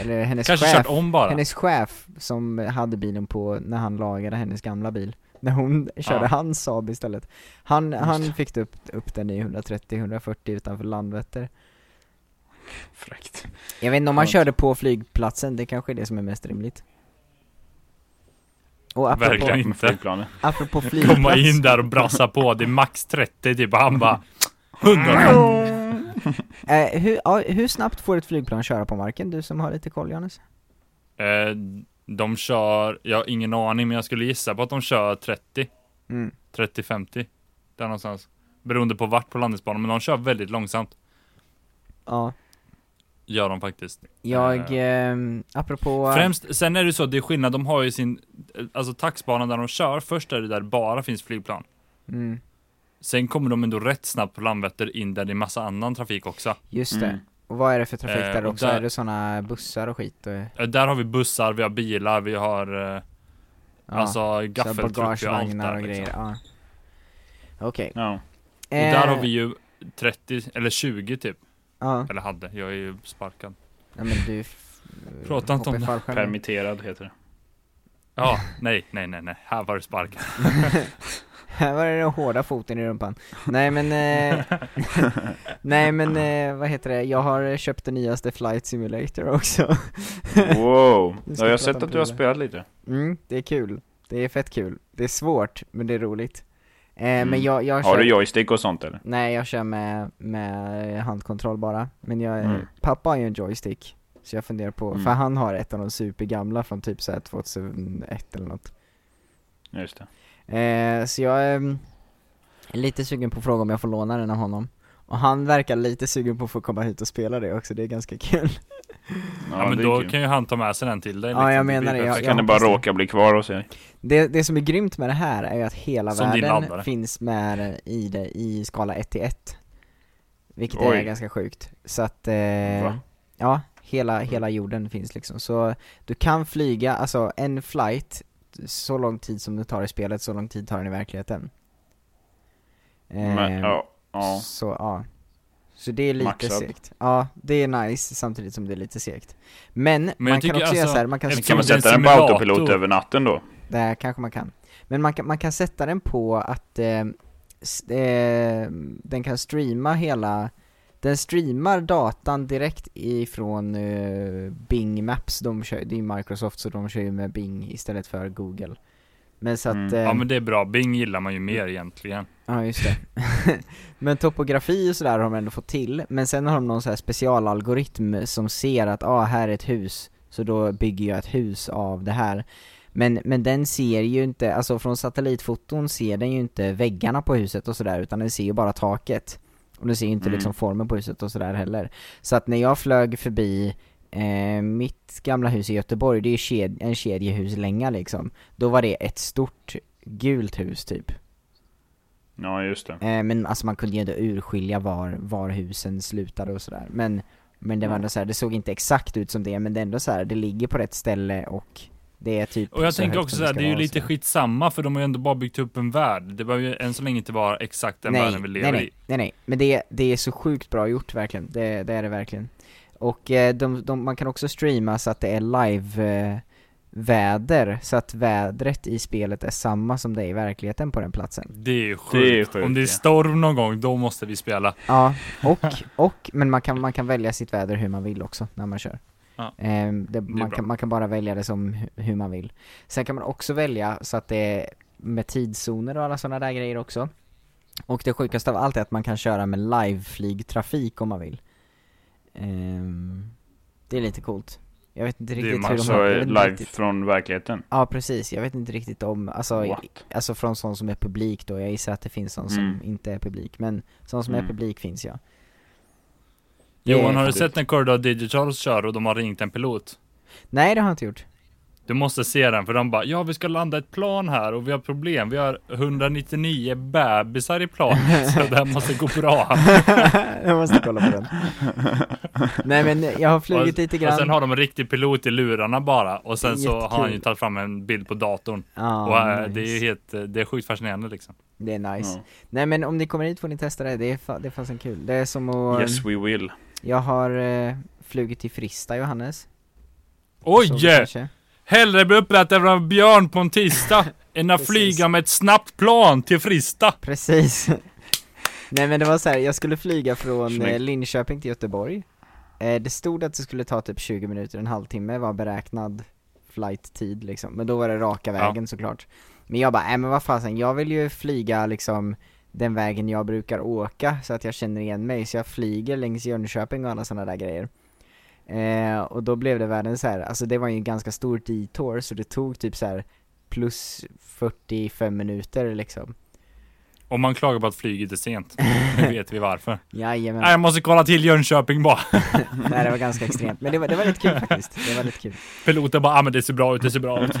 [SPEAKER 2] eller hennes
[SPEAKER 3] Kanske
[SPEAKER 2] chef,
[SPEAKER 3] kört om bara?
[SPEAKER 2] hennes chef som hade bilen på när han lagade hennes gamla bil. När hon körde
[SPEAKER 3] Ja.
[SPEAKER 2] hans Saab istället. Han, han
[SPEAKER 1] Just.
[SPEAKER 2] fick upp, upp den i 130-140 utanför Landvetter.
[SPEAKER 1] Fräckt.
[SPEAKER 2] Jag vet inte om han
[SPEAKER 1] Skönt.
[SPEAKER 2] körde på flygplatsen, det kanske är det som är mest rimligt. Och
[SPEAKER 3] Verkligen
[SPEAKER 2] apropå,
[SPEAKER 1] Med
[SPEAKER 3] inte.
[SPEAKER 1] flygplanet.
[SPEAKER 2] apropå flygplats.
[SPEAKER 3] Komma in där och brassa på, det är max 30 typ, och han bara
[SPEAKER 2] Mm.
[SPEAKER 3] 100
[SPEAKER 2] Eh, hur, ja, hur snabbt får ett flygplan köra på marken? Du som har lite koll Johannes?
[SPEAKER 3] eh, De kör, jag har ingen aning men jag skulle gissa på att de kör 30,
[SPEAKER 2] Mm.
[SPEAKER 3] 30-50. Där någonstans. Beroende på vart på landningsbanan, men de kör väldigt långsamt.
[SPEAKER 2] Ja.
[SPEAKER 3] Gör de faktiskt.
[SPEAKER 2] Jag, ehm, apropå...
[SPEAKER 3] Eh. Främst, sen är det så att det är skillnad, de har ju sin, alltså taxbanan där de kör, först är det där bara finns flygplan.
[SPEAKER 2] Mm,
[SPEAKER 3] Sen kommer de ändå rätt snabbt på Landvetter in där det är massa annan trafik också.
[SPEAKER 2] just det.
[SPEAKER 1] Mm.
[SPEAKER 2] Och vad är det för trafik
[SPEAKER 3] Eh,
[SPEAKER 2] där
[SPEAKER 3] och
[SPEAKER 2] också?
[SPEAKER 3] där-
[SPEAKER 2] Är det såna bussar och skit? Och, ja.
[SPEAKER 3] Eh, Där har vi bussar, vi har bilar, vi har eh, alltså
[SPEAKER 2] så här
[SPEAKER 3] gaffeltruck, vi har allt
[SPEAKER 2] bagagevagnar
[SPEAKER 3] där.
[SPEAKER 2] och grejer,
[SPEAKER 3] Liksom.
[SPEAKER 2] ja. Okej.
[SPEAKER 1] Ja.
[SPEAKER 3] Och där
[SPEAKER 2] Eh.
[SPEAKER 3] har vi ju 30, eller 20 typ.
[SPEAKER 2] Ja,
[SPEAKER 3] Eller hade, jag är ju sparkad.
[SPEAKER 2] nej men du... f-
[SPEAKER 3] Prata
[SPEAKER 2] hoppa
[SPEAKER 3] inte om
[SPEAKER 2] i
[SPEAKER 3] det.
[SPEAKER 2] fallskärmen.
[SPEAKER 1] Permitterad heter det.
[SPEAKER 3] Ja, nej, nej, nej, nej, här var det sparkad.
[SPEAKER 2] Här var det den hårda foten i rumpan. Nej men, eh, nej men eh, vad heter det, jag har köpt den nyaste Flight Simulator också.
[SPEAKER 1] Wow.
[SPEAKER 2] Vi ska
[SPEAKER 1] Ja, jag har
[SPEAKER 2] prata
[SPEAKER 1] sett
[SPEAKER 2] om
[SPEAKER 1] att du har
[SPEAKER 2] prylar.
[SPEAKER 1] spelat lite.
[SPEAKER 2] Mm, det är kul. Det är fett kul. Det är svårt, men det är roligt. Eh, Men
[SPEAKER 1] Mm.
[SPEAKER 2] jag, jag
[SPEAKER 1] Har
[SPEAKER 2] kör-
[SPEAKER 1] du joystick och sånt eller?
[SPEAKER 2] Nej jag kör med, med handkontroll bara, men jag,
[SPEAKER 1] Mm.
[SPEAKER 2] pappa har ju en joystick Så jag funderar på,
[SPEAKER 1] Mm.
[SPEAKER 2] för han har ett av de supergamla från typ såhär 2001 eller något
[SPEAKER 1] Just det.
[SPEAKER 2] eh, Så jag är lite sugen på att fråga om jag får låna den av honom Och han verkar lite sugen på att få komma hit och spela det också, det är ganska kul
[SPEAKER 3] Ja, men
[SPEAKER 1] det är
[SPEAKER 3] då
[SPEAKER 1] kul.
[SPEAKER 3] kan ju han ta med sig den till dig. liksom.
[SPEAKER 2] Ja, jag menar
[SPEAKER 3] blir
[SPEAKER 2] det, jag-
[SPEAKER 3] perfekt.
[SPEAKER 1] Kan det bara
[SPEAKER 2] hoppas det.
[SPEAKER 1] råka bli kvar hos er?
[SPEAKER 2] Det, det som är grymt med det här är ju att hela
[SPEAKER 3] Som din
[SPEAKER 2] världen
[SPEAKER 3] laddare.
[SPEAKER 2] finns med i det i skala 1 till 1 Vilket är
[SPEAKER 1] Oj.
[SPEAKER 2] ganska sjukt, så att eh,
[SPEAKER 1] Va?
[SPEAKER 2] Ja, hela, hela jorden finns liksom. Så du kan flyga, alltså en flight, så lång tid som det tar i spelet, så lång tid tar den i verkligheten. Eh,
[SPEAKER 1] Men, ja. ja.
[SPEAKER 2] Så ja. Så det är lite
[SPEAKER 1] Maxad.
[SPEAKER 2] segt. Ja, det är nice samtidigt som det är lite segt. Men,
[SPEAKER 3] jag
[SPEAKER 2] man kan
[SPEAKER 3] tycker
[SPEAKER 2] också göra
[SPEAKER 3] alltså,
[SPEAKER 2] så här, man kan
[SPEAKER 3] eftersom
[SPEAKER 1] Kan man
[SPEAKER 3] det är en
[SPEAKER 1] sätta den på
[SPEAKER 3] simulator.
[SPEAKER 1] autopilot över natten då?
[SPEAKER 2] det här kanske man kan. Men man kan, man kan sätta den på att eh, s- eh, den kan streama hela, den streamar datan direkt ifrån eh, Bing Maps, de kör, det är ju Microsoft så de kör ju med Bing istället för Google. Men så att,
[SPEAKER 1] Mm.
[SPEAKER 2] eh,
[SPEAKER 3] Ja, men det är bra. Bing gillar man ju
[SPEAKER 2] Mm.
[SPEAKER 3] mer egentligen.
[SPEAKER 2] Ja just det. men topografi och sådär har de ändå fått till, men sen har de någon så här specialalgoritm som ser att ah, här är ett hus, så då bygger jag ett hus av det här. Men, men den ser ju inte, alltså från satellitfoton ser den ju inte väggarna på huset och sådär, utan den ser ju bara taket. Och den ser ju inte
[SPEAKER 1] Mm.
[SPEAKER 2] liksom formen på huset och sådär heller. Så att när jag flög förbi eh, mitt gamla hus i Göteborg, det är ju ked- en kedjehuslänga liksom, då var det ett stort gult hus typ.
[SPEAKER 1] Ja, just det.
[SPEAKER 2] Eh, men alltså man kunde ju ändå urskilja var, var husen slutade och sådär. Men, men det var ändå så här, det såg inte exakt ut som det, men det är ändå så här, det ligger på rätt ställe och det är typ
[SPEAKER 3] Och jag
[SPEAKER 2] så
[SPEAKER 3] tänker
[SPEAKER 2] högt
[SPEAKER 3] också
[SPEAKER 2] som
[SPEAKER 3] såhär,
[SPEAKER 2] ska
[SPEAKER 3] det är ju
[SPEAKER 2] vara och
[SPEAKER 3] lite
[SPEAKER 2] sådär.
[SPEAKER 3] skitsamma för de har ju ändå bara byggt upp en värld. Det behöver ju än så länge inte vara exakt den
[SPEAKER 2] nej,
[SPEAKER 3] världen vi lever
[SPEAKER 2] nej,
[SPEAKER 3] i.
[SPEAKER 2] nej, nej, nej, men det, det är så sjukt bra gjort verkligen, det, det är det verkligen. Och eh, de, de, man kan också streama så att det är live eh, väder, så att vädret i spelet är samma som det är i verkligheten på den platsen.
[SPEAKER 3] Det är ju sjukt.
[SPEAKER 1] Det är sjukt,
[SPEAKER 3] Om det är
[SPEAKER 1] ja.
[SPEAKER 3] storm någon gång, då måste vi spela.
[SPEAKER 2] Ja, och, och, men man kan, man kan välja sitt väder hur man vill också när man kör.
[SPEAKER 3] Ja.
[SPEAKER 2] Ehm, det,
[SPEAKER 3] är
[SPEAKER 2] man,
[SPEAKER 3] bra.
[SPEAKER 2] kan, man kan bara välja det som hu- hur man vill. Sen kan man också välja så att det är med tidszoner och alla sådana där grejer också. Och det sjukaste av allt är att man kan köra med liveflygtrafik om man vill. Ehm, det är lite coolt. Jag vet inte
[SPEAKER 3] Det är
[SPEAKER 2] riktigt hur de
[SPEAKER 3] massa
[SPEAKER 1] Alltså
[SPEAKER 2] har... jag vet inte
[SPEAKER 1] live
[SPEAKER 2] riktigt-
[SPEAKER 1] från verkligheten.
[SPEAKER 2] Ja precis, jag vet inte riktigt om, alltså, i-
[SPEAKER 1] What?
[SPEAKER 2] alltså från sån som är publik då, jag gissar att det finns sån
[SPEAKER 1] Mm.
[SPEAKER 2] som inte är publik, men sån som är
[SPEAKER 1] Mm.
[SPEAKER 2] publik finns ja. Det är
[SPEAKER 3] Johan, har du
[SPEAKER 1] sjukt.
[SPEAKER 3] sett när Corridor Digital kör och de har ringt en pilot?
[SPEAKER 2] Eh, Nej det har jag inte gjort.
[SPEAKER 3] Du måste se den, för de bara ja, vi ska landa ett plan här och vi har problem. Vi har 199 bebisar i planet, så det här måste gå bra.
[SPEAKER 2] jag måste kolla på den. Nej men jag har flugit lite
[SPEAKER 3] Och sen
[SPEAKER 2] grann.
[SPEAKER 3] har de en riktig pilot i lurarna bara och sen så har han ju
[SPEAKER 2] Jättekul.
[SPEAKER 3] tagit fram en bild på datorn.
[SPEAKER 2] Ja,
[SPEAKER 3] och äh,
[SPEAKER 2] nice.
[SPEAKER 3] det är ju helt, eh, det är sjukt fascinerande liksom.
[SPEAKER 2] det är nice.
[SPEAKER 1] Ja.
[SPEAKER 2] Nej men om ni kommer hit får ni testa det, det är, fa- det är fasen kul. Det är som att,
[SPEAKER 1] Yes we will.
[SPEAKER 2] jag har eh, flugit till Frista Johannes. Så
[SPEAKER 3] Oj!
[SPEAKER 2] kanske.
[SPEAKER 3] Hellre bli uppäten av en björn på en tisdag än att
[SPEAKER 2] Precis.
[SPEAKER 3] flyga med ett snabbt plan till Frista.
[SPEAKER 2] Precis. Nej men det var så här, jag skulle flyga från eh,
[SPEAKER 1] Snyggt.
[SPEAKER 2] Linköping till Göteborg. Eh, det stod att det skulle ta typ 20 minuter, en halvtimme var beräknad flight-tid liksom. Men då var det raka
[SPEAKER 3] Ja.
[SPEAKER 2] vägen såklart. Men jag bara, nej men vad fasen, jag vill ju flyga liksom den vägen jag brukar åka så att jag känner igen mig. Så jag flyger längs Jönköping och alla sådana där grejer. Eh, och då blev det världen så här, alltså det var ju en ganska stor detour så det tog typ så här plus 45 minuter liksom.
[SPEAKER 3] Om man klagar på att flyget är sent, nu vet vi varför.
[SPEAKER 2] Jajamän.
[SPEAKER 3] Nej, jag måste kolla till Jönköping bara.
[SPEAKER 2] Nej det var ganska extremt, men det var, det var lite kul faktiskt, det var lite kul
[SPEAKER 3] Piloten bara, ah, men det ser bra ut, det ser bra ut.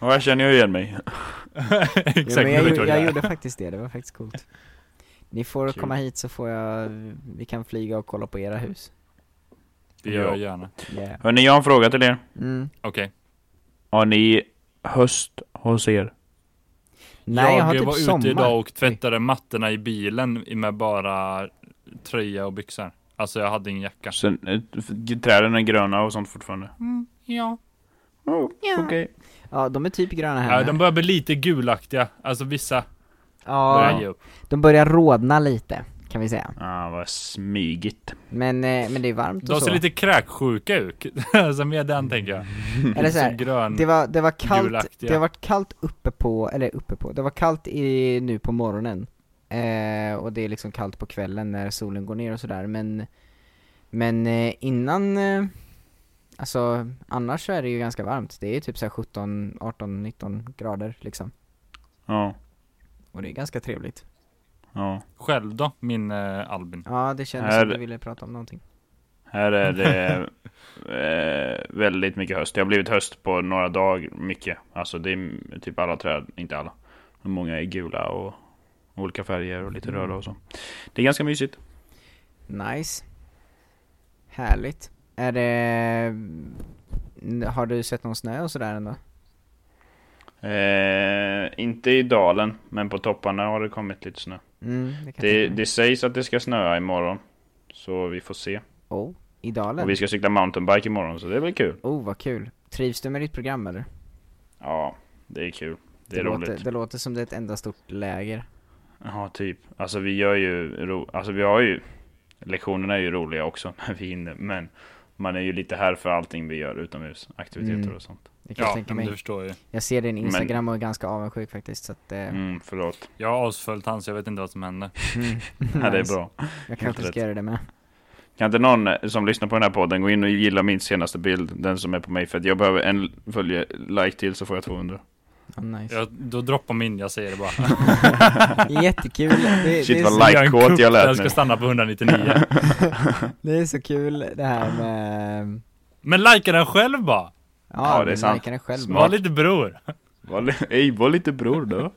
[SPEAKER 1] Och här känner jag igen mig.
[SPEAKER 3] Exakt,
[SPEAKER 2] ja, men
[SPEAKER 3] nu
[SPEAKER 2] jag,
[SPEAKER 3] vet
[SPEAKER 2] gjorde- jag
[SPEAKER 3] jag, jag,
[SPEAKER 2] gjorde faktiskt det, det var faktiskt coolt Ni får
[SPEAKER 1] Kul.
[SPEAKER 2] komma hit så får jag, vi kan flyga och kolla på era hus
[SPEAKER 3] Det gör jag gärna.
[SPEAKER 2] yeah.
[SPEAKER 1] Hörni, jag har en fråga till er.
[SPEAKER 2] mm.
[SPEAKER 3] Okej.
[SPEAKER 1] Har ni höst hos er?
[SPEAKER 2] Nej jag har
[SPEAKER 3] jag
[SPEAKER 2] typ
[SPEAKER 3] var
[SPEAKER 2] sommar
[SPEAKER 3] ute idag och tvättade mattorna i bilen med bara tröja och byxor. Alltså jag hade ingen jacka.
[SPEAKER 1] Sen, eh, f- träden är gröna och sånt fortfarande.
[SPEAKER 2] Mm,
[SPEAKER 3] Ja.
[SPEAKER 1] Oh, Okej.
[SPEAKER 2] Ja de är typ gröna här
[SPEAKER 3] Ja,
[SPEAKER 2] med.
[SPEAKER 3] de börjar bli lite gulaktiga. Alltså vissa börjar
[SPEAKER 2] ja,
[SPEAKER 3] ge upp.
[SPEAKER 2] de börjar rodna lite kan vi säga
[SPEAKER 1] Ah, vad smygigt.
[SPEAKER 2] Men, eh, men det är varmt och
[SPEAKER 3] De
[SPEAKER 2] så
[SPEAKER 3] ser lite kräksjuka ut. alltså med den tänker jag.
[SPEAKER 2] Eller så här,
[SPEAKER 3] grön.
[SPEAKER 2] Det var, det var kallt,
[SPEAKER 3] Gulaktiga.
[SPEAKER 2] det har varit kallt uppe på, eller uppe på, det var kallt i, nu på morgonen eh, Och det är liksom kallt på kvällen när solen går ner och sådär men Men eh, innan, eh, alltså annars så är det ju ganska varmt Det är typ såhär 17, 18, 19 grader liksom
[SPEAKER 1] Ja,
[SPEAKER 2] Och det är ganska trevligt
[SPEAKER 1] ja.
[SPEAKER 3] Själv då, min eh, Albin?
[SPEAKER 2] Ja det kändes
[SPEAKER 1] Här-
[SPEAKER 2] som du ville prata om någonting
[SPEAKER 1] Här är det eh, väldigt mycket höst. Det har blivit höst på några dagar, mycket. Alltså det är m- typ alla träd, inte alla. Men Många är gula och olika färger och lite röda och så. Det är ganska mysigt.
[SPEAKER 2] Nice Härligt Är det, har du sett någon snö och sådär ändå?
[SPEAKER 1] Eh, inte i dalen, men på topparna har det kommit lite snö.
[SPEAKER 2] Mm, det kan jag
[SPEAKER 1] Det,
[SPEAKER 2] tänka mig.
[SPEAKER 1] det sägs att det ska snöa imorgon. Så vi får se.
[SPEAKER 2] Oh, i dalen?
[SPEAKER 1] Och vi ska cykla mountainbike imorgon, så det blir kul.
[SPEAKER 2] Oh vad kul. Trivs du med ditt program eller?
[SPEAKER 1] Ja, det är kul. Det är
[SPEAKER 2] låter,
[SPEAKER 1] roligt.
[SPEAKER 2] det låter som det är ett enda stort läger.
[SPEAKER 1] Ja, typ. Alltså vi gör ju, ro... alltså vi har ju, lektionerna är ju roliga också när vi hinner, men man är ju lite här för allting vi gör utomhus, aktiviteter
[SPEAKER 2] Mm.
[SPEAKER 1] och sånt.
[SPEAKER 2] Det kan jag
[SPEAKER 3] Ja,
[SPEAKER 2] tänka
[SPEAKER 3] men
[SPEAKER 2] mig.
[SPEAKER 3] du förstår ju.
[SPEAKER 2] Jag ser din
[SPEAKER 1] Men-
[SPEAKER 2] Instagram och är ganska avundsjuk faktiskt så att... Eh,
[SPEAKER 1] Mm, förlåt.
[SPEAKER 3] Jag har avsföljt han så jag vet inte vad som händer.
[SPEAKER 2] mm.
[SPEAKER 1] Ja, det är
[SPEAKER 2] Nice.
[SPEAKER 1] bra.
[SPEAKER 2] Jag
[SPEAKER 1] Helt
[SPEAKER 2] kanske
[SPEAKER 1] rätt.
[SPEAKER 2] ska göra det med.
[SPEAKER 1] Kan inte någon som lyssnar på den här podden gå in och gilla min senaste bild, den som är på mig, för att jag behöver en följe like till så får jag 200.
[SPEAKER 2] Oh, nice.
[SPEAKER 3] Jag, då droppar min, jag säger det bara.
[SPEAKER 2] Jättekul. Det, det,
[SPEAKER 1] Shit,
[SPEAKER 2] är
[SPEAKER 1] vad
[SPEAKER 2] så,
[SPEAKER 1] Like
[SPEAKER 3] Vi gör en
[SPEAKER 1] quote
[SPEAKER 3] kupp
[SPEAKER 1] jag lät
[SPEAKER 3] där Jag ska
[SPEAKER 1] nu.
[SPEAKER 3] stanna på 199.
[SPEAKER 2] det är så kul det här med...
[SPEAKER 3] Men likea den själv bara!
[SPEAKER 2] Ja,
[SPEAKER 1] det är
[SPEAKER 2] du
[SPEAKER 1] sant.
[SPEAKER 2] likar den själv.
[SPEAKER 1] Smart.
[SPEAKER 3] Var lite bror.
[SPEAKER 1] Var, li- Ey, var lite bror då.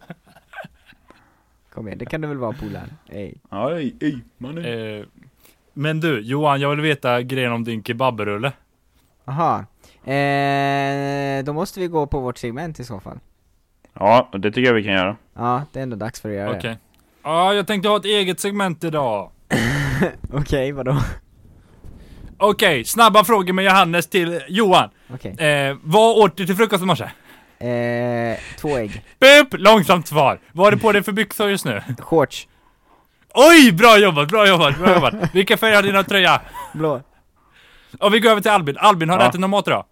[SPEAKER 2] Kom igen, det kan du väl vara polaren? Ey.
[SPEAKER 1] Aj, ej, mannen.
[SPEAKER 3] Eh, men du, Johan, jag vill veta grejen om din kebabrulle.
[SPEAKER 2] Aha. Eh, då måste vi gå på vårt segment i så fall.
[SPEAKER 1] Ja, det tycker jag vi kan göra.
[SPEAKER 2] Ja, det är ändå dags för att göra
[SPEAKER 3] Okej. Ja, jag tänkte ha ett eget segment idag.
[SPEAKER 2] det. Okej, vadå?
[SPEAKER 3] Okej, snabba frågor med Johannes till Johan.
[SPEAKER 2] Okej.
[SPEAKER 3] Eh, vad åt du till frukost i morse?
[SPEAKER 2] Eh, två ägg.
[SPEAKER 3] Bup! Långsamt svar. Vad har du på dig för byxor just nu?
[SPEAKER 2] Shorts.
[SPEAKER 3] Oj, bra jobbat, bra jobbat, bra jobbat. Vilka färger har dina tröja?
[SPEAKER 2] Blå.
[SPEAKER 3] Och vi går över till Albin. Albin, har du
[SPEAKER 1] Ja.
[SPEAKER 3] ätit någon mat idag?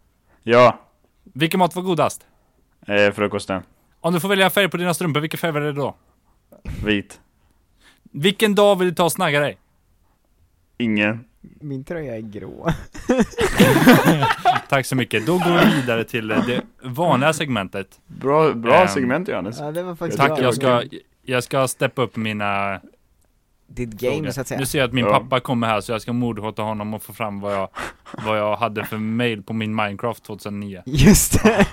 [SPEAKER 1] Ja,
[SPEAKER 3] Vilken mat var godast?
[SPEAKER 1] eh, frukosten.
[SPEAKER 3] Om du får välja färg på dina strumpor, vilken färg var det då?
[SPEAKER 1] Vit.
[SPEAKER 3] Vilken dag vill du ta och snagga dig?
[SPEAKER 1] Ingen.
[SPEAKER 2] Min tröja är grå.
[SPEAKER 3] Tack så mycket. Då går vi vidare till eh, det vanliga segmentet.
[SPEAKER 1] Bra, bra
[SPEAKER 3] Ehm,
[SPEAKER 1] segment Johannes.
[SPEAKER 2] Ja, det var faktiskt
[SPEAKER 3] Tack,
[SPEAKER 2] bra.
[SPEAKER 3] jag ska, jag ska steppa upp mina
[SPEAKER 2] Ditt
[SPEAKER 3] frågor.
[SPEAKER 2] game så att säga.
[SPEAKER 3] Nu ser jag att min
[SPEAKER 1] Ja.
[SPEAKER 3] pappa kommer här så jag ska mordhota honom och få fram vad jag, vad jag hade för mail på min Minecraft 2009.
[SPEAKER 2] Just det.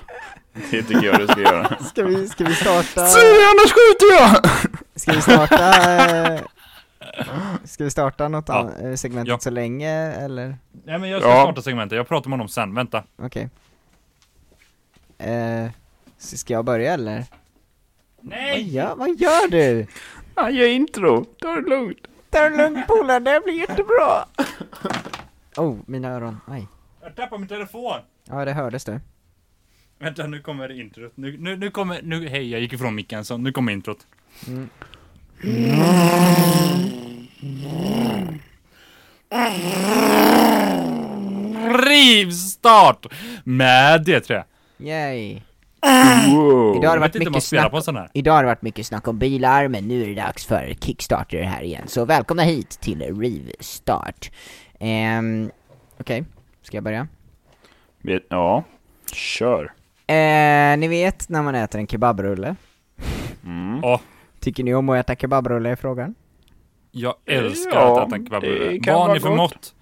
[SPEAKER 1] Det tycker jag du ska göra.
[SPEAKER 2] Ska vi, ska vi starta...
[SPEAKER 1] annars skjuter jag!
[SPEAKER 2] Ska vi starta... eh, Ska vi starta något
[SPEAKER 3] Ja.
[SPEAKER 2] an- eh, segmentet
[SPEAKER 3] Ja.
[SPEAKER 2] så länge, eller?
[SPEAKER 3] Nej men jag ska
[SPEAKER 1] Ja.
[SPEAKER 3] starta segmentet, jag pratar med honom sen, vänta.
[SPEAKER 2] Okej. Eh, s- ska jag börja eller? Vad
[SPEAKER 3] Nej!
[SPEAKER 2] gör, vad gör du?
[SPEAKER 1] Han gör intro. Ta det lugnt.
[SPEAKER 2] Ta det lugnt polare, det här blir jättebra! Oh, mina öron. Aj.
[SPEAKER 3] Jag tappade min telefon!
[SPEAKER 2] Ja, det hördes du.
[SPEAKER 3] Vänta, nu kommer introt. Nu, nu, nu kommer, nu, hej jag gick ifrån micken så nu kommer introt.
[SPEAKER 2] Mm.
[SPEAKER 3] Rivstart! Med det tror jag.
[SPEAKER 2] Yay.
[SPEAKER 1] Wow.
[SPEAKER 2] Idag har det
[SPEAKER 3] Jag
[SPEAKER 2] varit
[SPEAKER 3] vet inte om man
[SPEAKER 2] mycket
[SPEAKER 3] spelar
[SPEAKER 2] snack
[SPEAKER 3] på en sån här.
[SPEAKER 2] Idag har det varit mycket snack om bilar, men nu är det dags för Kickstarter här igen. Så välkomna hit till Rivstart. Ehm, Okej, ska jag börja?
[SPEAKER 1] Vet- Ja. Kör.
[SPEAKER 2] Eh, ni vet när man äter en kebabrulle?
[SPEAKER 1] Mm.
[SPEAKER 3] Åh,
[SPEAKER 2] Tycker ni om att äta kebabrulle är frågan?
[SPEAKER 3] jag älskar
[SPEAKER 1] Ja,
[SPEAKER 3] att äta en
[SPEAKER 1] det
[SPEAKER 3] kebabrulle.
[SPEAKER 1] kan
[SPEAKER 3] Vad har
[SPEAKER 1] vara
[SPEAKER 3] ni för
[SPEAKER 1] gott.
[SPEAKER 3] mått?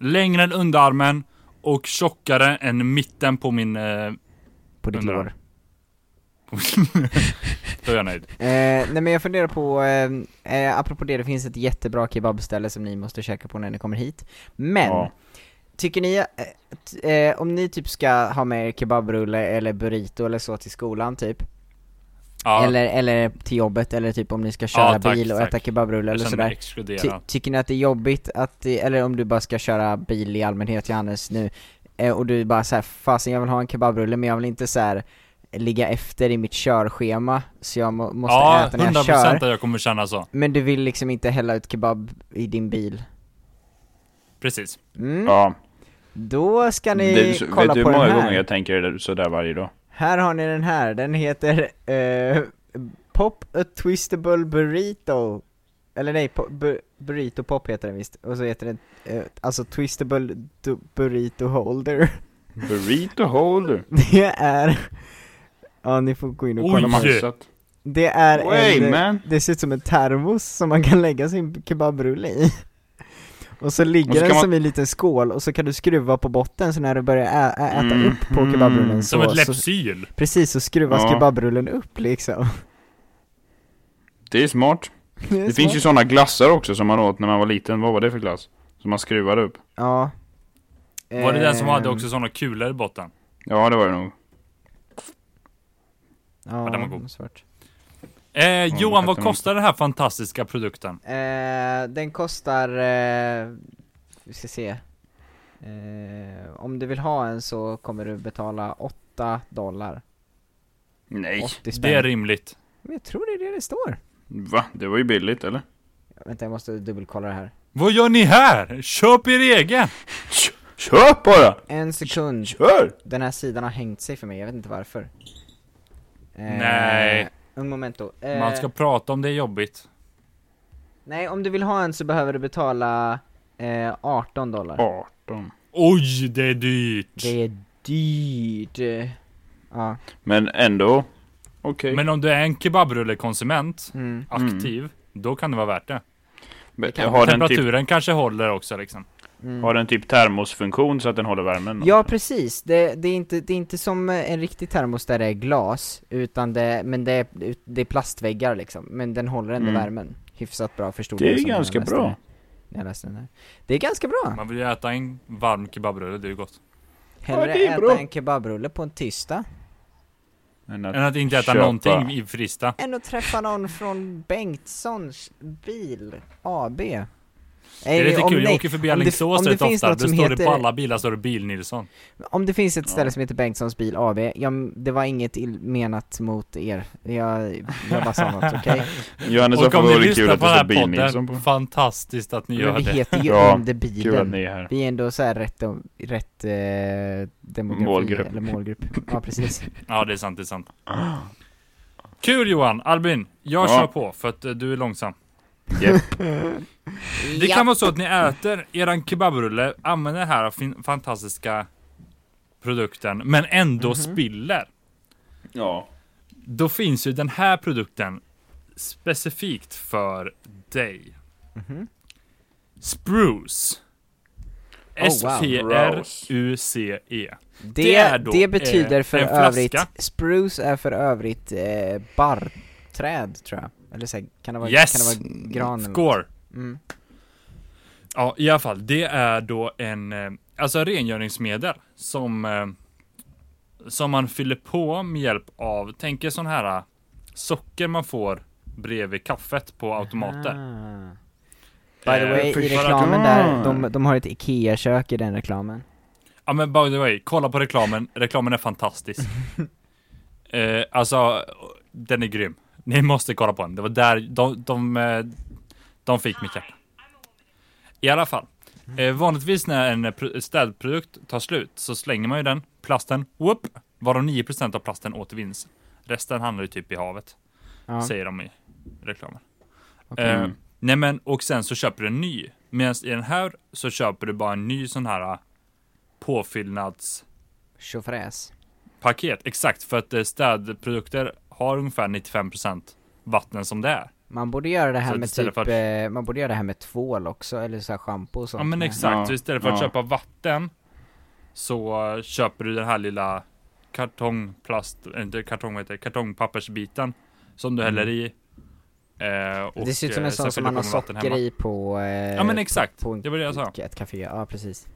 [SPEAKER 3] Längre än underarmen och tjockare än mitten på min... Eh,
[SPEAKER 2] På ditt
[SPEAKER 3] Undrar.
[SPEAKER 2] lår.
[SPEAKER 3] på- Då är jag nöjd.
[SPEAKER 2] Eh, nej men jag funderar på, eh, eh, apropå det, det finns ett jättebra kebabställe som ni måste käka på när ni kommer hit. Men,
[SPEAKER 1] Ja.
[SPEAKER 2] tycker ni, eh, t- eh, om ni typ ska ha med er kebabrulle eller burrito eller så till skolan typ,
[SPEAKER 3] Ja,
[SPEAKER 2] eller, eller till jobbet, eller typ om ni ska köra
[SPEAKER 3] Ja, tack,
[SPEAKER 2] bil och
[SPEAKER 3] tack.
[SPEAKER 2] äta kebabrulle
[SPEAKER 3] jag
[SPEAKER 2] eller
[SPEAKER 3] känner mig
[SPEAKER 2] sådär. Ty,
[SPEAKER 3] exkluderad.
[SPEAKER 2] tycker ni att det är jobbigt att, det- eller om du bara ska köra bil i allmänhet Johannes nu, eh, och du bara såhär, fasen jag vill ha en kebabrulle men jag vill inte såhär ligga efter i mitt körschema, så jag må, måste
[SPEAKER 3] Ja,
[SPEAKER 2] äta när jag
[SPEAKER 3] 100%
[SPEAKER 2] kör.
[SPEAKER 3] att jag kommer känna så.
[SPEAKER 2] Men du vill liksom inte hälla ut kebab i din bil?
[SPEAKER 3] Precis.
[SPEAKER 2] Mm.
[SPEAKER 1] Ja.
[SPEAKER 2] Då ska ni
[SPEAKER 1] Det, vet
[SPEAKER 2] kolla
[SPEAKER 1] du
[SPEAKER 2] på
[SPEAKER 1] hur
[SPEAKER 2] den
[SPEAKER 1] många
[SPEAKER 2] här.
[SPEAKER 1] gånger jag tänker det sådär varje dag?
[SPEAKER 2] Här har ni den här, den heter eh, Pop a Twistable Burrito Eller nej, po- bu- Burrito Pop heter den visst, och så heter den eh, alltså Twistable du- Burrito Holder
[SPEAKER 1] Burrito holder.
[SPEAKER 2] Det är, ja ni får gå in och
[SPEAKER 3] Oj.
[SPEAKER 2] kolla
[SPEAKER 1] De har hissat.
[SPEAKER 2] Det är
[SPEAKER 1] Way
[SPEAKER 2] en,
[SPEAKER 1] man.
[SPEAKER 2] det ser ut som en termos som man kan lägga sin kebabrulle i Och så ligger
[SPEAKER 1] Och så kan
[SPEAKER 2] den
[SPEAKER 1] man-
[SPEAKER 2] som i en liten skål och så kan du skruva på botten så när du börjar ä- ä- äta
[SPEAKER 1] Mm.
[SPEAKER 2] upp på
[SPEAKER 1] Mm.
[SPEAKER 2] kebabrullen så,
[SPEAKER 3] Som ett
[SPEAKER 2] så
[SPEAKER 3] läppsyl.
[SPEAKER 2] Precis, så skruvas
[SPEAKER 1] Ja.
[SPEAKER 2] kebabrullen upp liksom
[SPEAKER 1] Det är smart.
[SPEAKER 2] Det, är
[SPEAKER 1] Det finns
[SPEAKER 2] smart.
[SPEAKER 1] ju sådana glassar också som man åt när man var liten. Vad var det för glass? Som man skruvade upp.
[SPEAKER 2] Ja
[SPEAKER 3] Var det den som hade
[SPEAKER 2] Ehm,
[SPEAKER 3] också såna kulor i botten?
[SPEAKER 1] Ja, det var det nog.
[SPEAKER 2] Ja,
[SPEAKER 3] den var god.
[SPEAKER 2] svart.
[SPEAKER 3] Eh, Johan,
[SPEAKER 1] fattar
[SPEAKER 3] vad
[SPEAKER 1] man
[SPEAKER 3] kostar den här fantastiska produkten?
[SPEAKER 2] Eh, den kostar, eh, vi ska se eh, Om du vill ha en så kommer du betala 8 dollar,
[SPEAKER 1] Nej.
[SPEAKER 2] 80 spänn
[SPEAKER 3] Det är rimligt.
[SPEAKER 2] Men jag tror det är det det står
[SPEAKER 1] Va? Det var ju billigt, eller?
[SPEAKER 2] Vänta jag måste dubbelkolla det här
[SPEAKER 3] Vad gör ni här? Köp er egen!
[SPEAKER 1] Köp bara!
[SPEAKER 2] En sekund,
[SPEAKER 1] Kör!
[SPEAKER 2] den här sidan har hängt sig för mig, jag vet inte varför Eh,
[SPEAKER 3] Nej.
[SPEAKER 2] Un momento eh,
[SPEAKER 3] Man ska prata om det är jobbigt.
[SPEAKER 2] Nej om du vill ha en så behöver du betala eh, 18 dollar
[SPEAKER 1] 18.
[SPEAKER 3] Oj, det är dyrt!
[SPEAKER 2] Det är dyrt eh. Ja,
[SPEAKER 1] Men ändå. Okej.
[SPEAKER 3] Men om du är en kebabrullekonsument,
[SPEAKER 2] mm.
[SPEAKER 3] aktiv, då kan det vara värt det.
[SPEAKER 1] Men
[SPEAKER 2] kan-
[SPEAKER 1] Har den typ,
[SPEAKER 3] Temperaturen kanske håller också liksom.
[SPEAKER 2] Mm.
[SPEAKER 1] Har den typ termosfunktion så att den håller värmen?
[SPEAKER 2] Ja precis, det, det, är inte, det är inte som en riktig termos där det är glas, utan det, men det, är- det är plastväggar liksom, men den håller ändå
[SPEAKER 1] Mm.
[SPEAKER 2] värmen hyfsat bra förstod
[SPEAKER 1] Det
[SPEAKER 2] jag
[SPEAKER 1] är
[SPEAKER 2] som när jag
[SPEAKER 1] ganska
[SPEAKER 2] läste
[SPEAKER 1] bra.
[SPEAKER 2] det. När jag läste den här. Det är ganska bra!
[SPEAKER 3] Man vill ju äta en varm kebabrulle, det är ju gott.
[SPEAKER 2] Hellre
[SPEAKER 1] det är
[SPEAKER 2] äta
[SPEAKER 1] bra.
[SPEAKER 2] en kebabrulle på en tisdag,
[SPEAKER 1] Men att-
[SPEAKER 3] Än att inte äta
[SPEAKER 1] Köpa.
[SPEAKER 3] någonting i frista.
[SPEAKER 2] än att träffa någon från Bengtssons bil AB
[SPEAKER 3] Det är lite kul, jag
[SPEAKER 2] nej,
[SPEAKER 3] åker förbi
[SPEAKER 2] om det- om
[SPEAKER 3] Alingsås
[SPEAKER 2] det
[SPEAKER 3] rätt
[SPEAKER 2] finns
[SPEAKER 3] ofta.
[SPEAKER 2] något
[SPEAKER 3] Då
[SPEAKER 2] som
[SPEAKER 3] står det
[SPEAKER 2] heter-
[SPEAKER 3] på alla bilar står det Bil-Nilsson.
[SPEAKER 2] Om det finns ett ställe
[SPEAKER 1] Ja.
[SPEAKER 2] som heter Bengtssons bil AB, ja, men det var inget ill- menat mot er. Jag, jag bara sa något, okej?
[SPEAKER 1] Johannes
[SPEAKER 3] Och
[SPEAKER 1] varför
[SPEAKER 3] om
[SPEAKER 1] vore
[SPEAKER 3] ni
[SPEAKER 1] det kul
[SPEAKER 3] lyssnar
[SPEAKER 1] att
[SPEAKER 3] på
[SPEAKER 1] det
[SPEAKER 3] den
[SPEAKER 1] står
[SPEAKER 3] här
[SPEAKER 1] Bil-Nilsson på?
[SPEAKER 3] podden, fantastiskt att ni
[SPEAKER 2] Men
[SPEAKER 3] gör
[SPEAKER 2] vi
[SPEAKER 3] det.
[SPEAKER 2] heter ju
[SPEAKER 1] Ja,
[SPEAKER 2] Under
[SPEAKER 1] Kul att
[SPEAKER 2] bilen.
[SPEAKER 1] ni är här.
[SPEAKER 2] Vi är ändå så här rätt, om- rätt eh, demografi,
[SPEAKER 1] Målgrupp.
[SPEAKER 2] eller målgrupp. Ja, precis.
[SPEAKER 3] Ja, det är sant, det är sant. Kul Johan! Albin, jag
[SPEAKER 1] Ja.
[SPEAKER 3] kör på för att eh, du är långsam.
[SPEAKER 1] Japp.
[SPEAKER 3] Det kan vara så att ni äter eran kebabrulle, använder den här fin- fantastiska produkten, men ändå
[SPEAKER 2] Mhm.
[SPEAKER 3] spiller.
[SPEAKER 1] Ja.
[SPEAKER 3] Då finns ju den här produkten specifikt för dig.
[SPEAKER 2] Mhm.
[SPEAKER 3] Spruce.
[SPEAKER 2] Oh, wow.
[SPEAKER 3] S-P-R-U-C-E.
[SPEAKER 2] Det,
[SPEAKER 3] är då,
[SPEAKER 2] det betyder
[SPEAKER 3] eh,
[SPEAKER 2] för
[SPEAKER 3] en flaska.
[SPEAKER 2] övrigt, spruce är för övrigt eh, barrträd tror jag. Eller så här, kan det vara,
[SPEAKER 3] Yes!
[SPEAKER 2] kan det vara gran eller något?
[SPEAKER 3] Score.
[SPEAKER 2] Mm.
[SPEAKER 3] Ja, i alla fall. Det är då en, eh, alltså rengöringsmedel som, eh, som man fyller på med hjälp av, tänk er sån här eh, socker man får bredvid kaffet på automater.
[SPEAKER 2] Ah. By the
[SPEAKER 3] Eh,
[SPEAKER 2] way,
[SPEAKER 1] för-
[SPEAKER 2] i
[SPEAKER 1] för att-
[SPEAKER 2] reklamen där,
[SPEAKER 1] Ah.
[SPEAKER 2] de, de har ett IKEA-kök i den reklamen.
[SPEAKER 3] Ja men by the way, kolla på reklamen. Reklamen är fantastisk. eh, alltså, den är grym. Ni måste kolla på den. Det var där de, de, eh, de fick mitt hjärta. I alla fall. Eh, vanligtvis när en pr- städprodukt tar slut så slänger man ju den, plasten, whoop, varav 9% av plasten återvinns. Resten hamnar ju typ i havet,
[SPEAKER 2] Ja.
[SPEAKER 3] säger de i reklamen.
[SPEAKER 2] Okej.
[SPEAKER 3] Eh, nej men, och sen så köper du en ny. Medan i den här så köper du bara en ny sån här eh, påfyllnads
[SPEAKER 2] Tjofräs.
[SPEAKER 3] paket, exakt. För att eh, städprodukter har ungefär 95% vatten som det är.
[SPEAKER 2] Man borde göra det här
[SPEAKER 3] Så
[SPEAKER 2] med
[SPEAKER 3] istället
[SPEAKER 2] typ,
[SPEAKER 3] för
[SPEAKER 2] eh, man borde göra det här med tvål också, eller så här shampoo och sånt.
[SPEAKER 3] Ja men
[SPEAKER 2] med.
[SPEAKER 3] exakt,
[SPEAKER 1] Ja,
[SPEAKER 3] så istället för att
[SPEAKER 1] ja.
[SPEAKER 3] köpa vatten så eh, köper du den här lilla kartongplast, eh, inte kartong vad heter det, kartongpappersbiten som du häller i. Eh, och,
[SPEAKER 2] det ser ut som
[SPEAKER 3] eh,
[SPEAKER 2] en
[SPEAKER 3] sen
[SPEAKER 2] sån som
[SPEAKER 3] fyller
[SPEAKER 2] man
[SPEAKER 3] du
[SPEAKER 2] har
[SPEAKER 3] på med vatten
[SPEAKER 2] socker
[SPEAKER 3] hemma.
[SPEAKER 2] i på... Eh,
[SPEAKER 3] Ja men exakt,
[SPEAKER 2] på
[SPEAKER 3] det var det jag sa.
[SPEAKER 2] ett café, ja precis.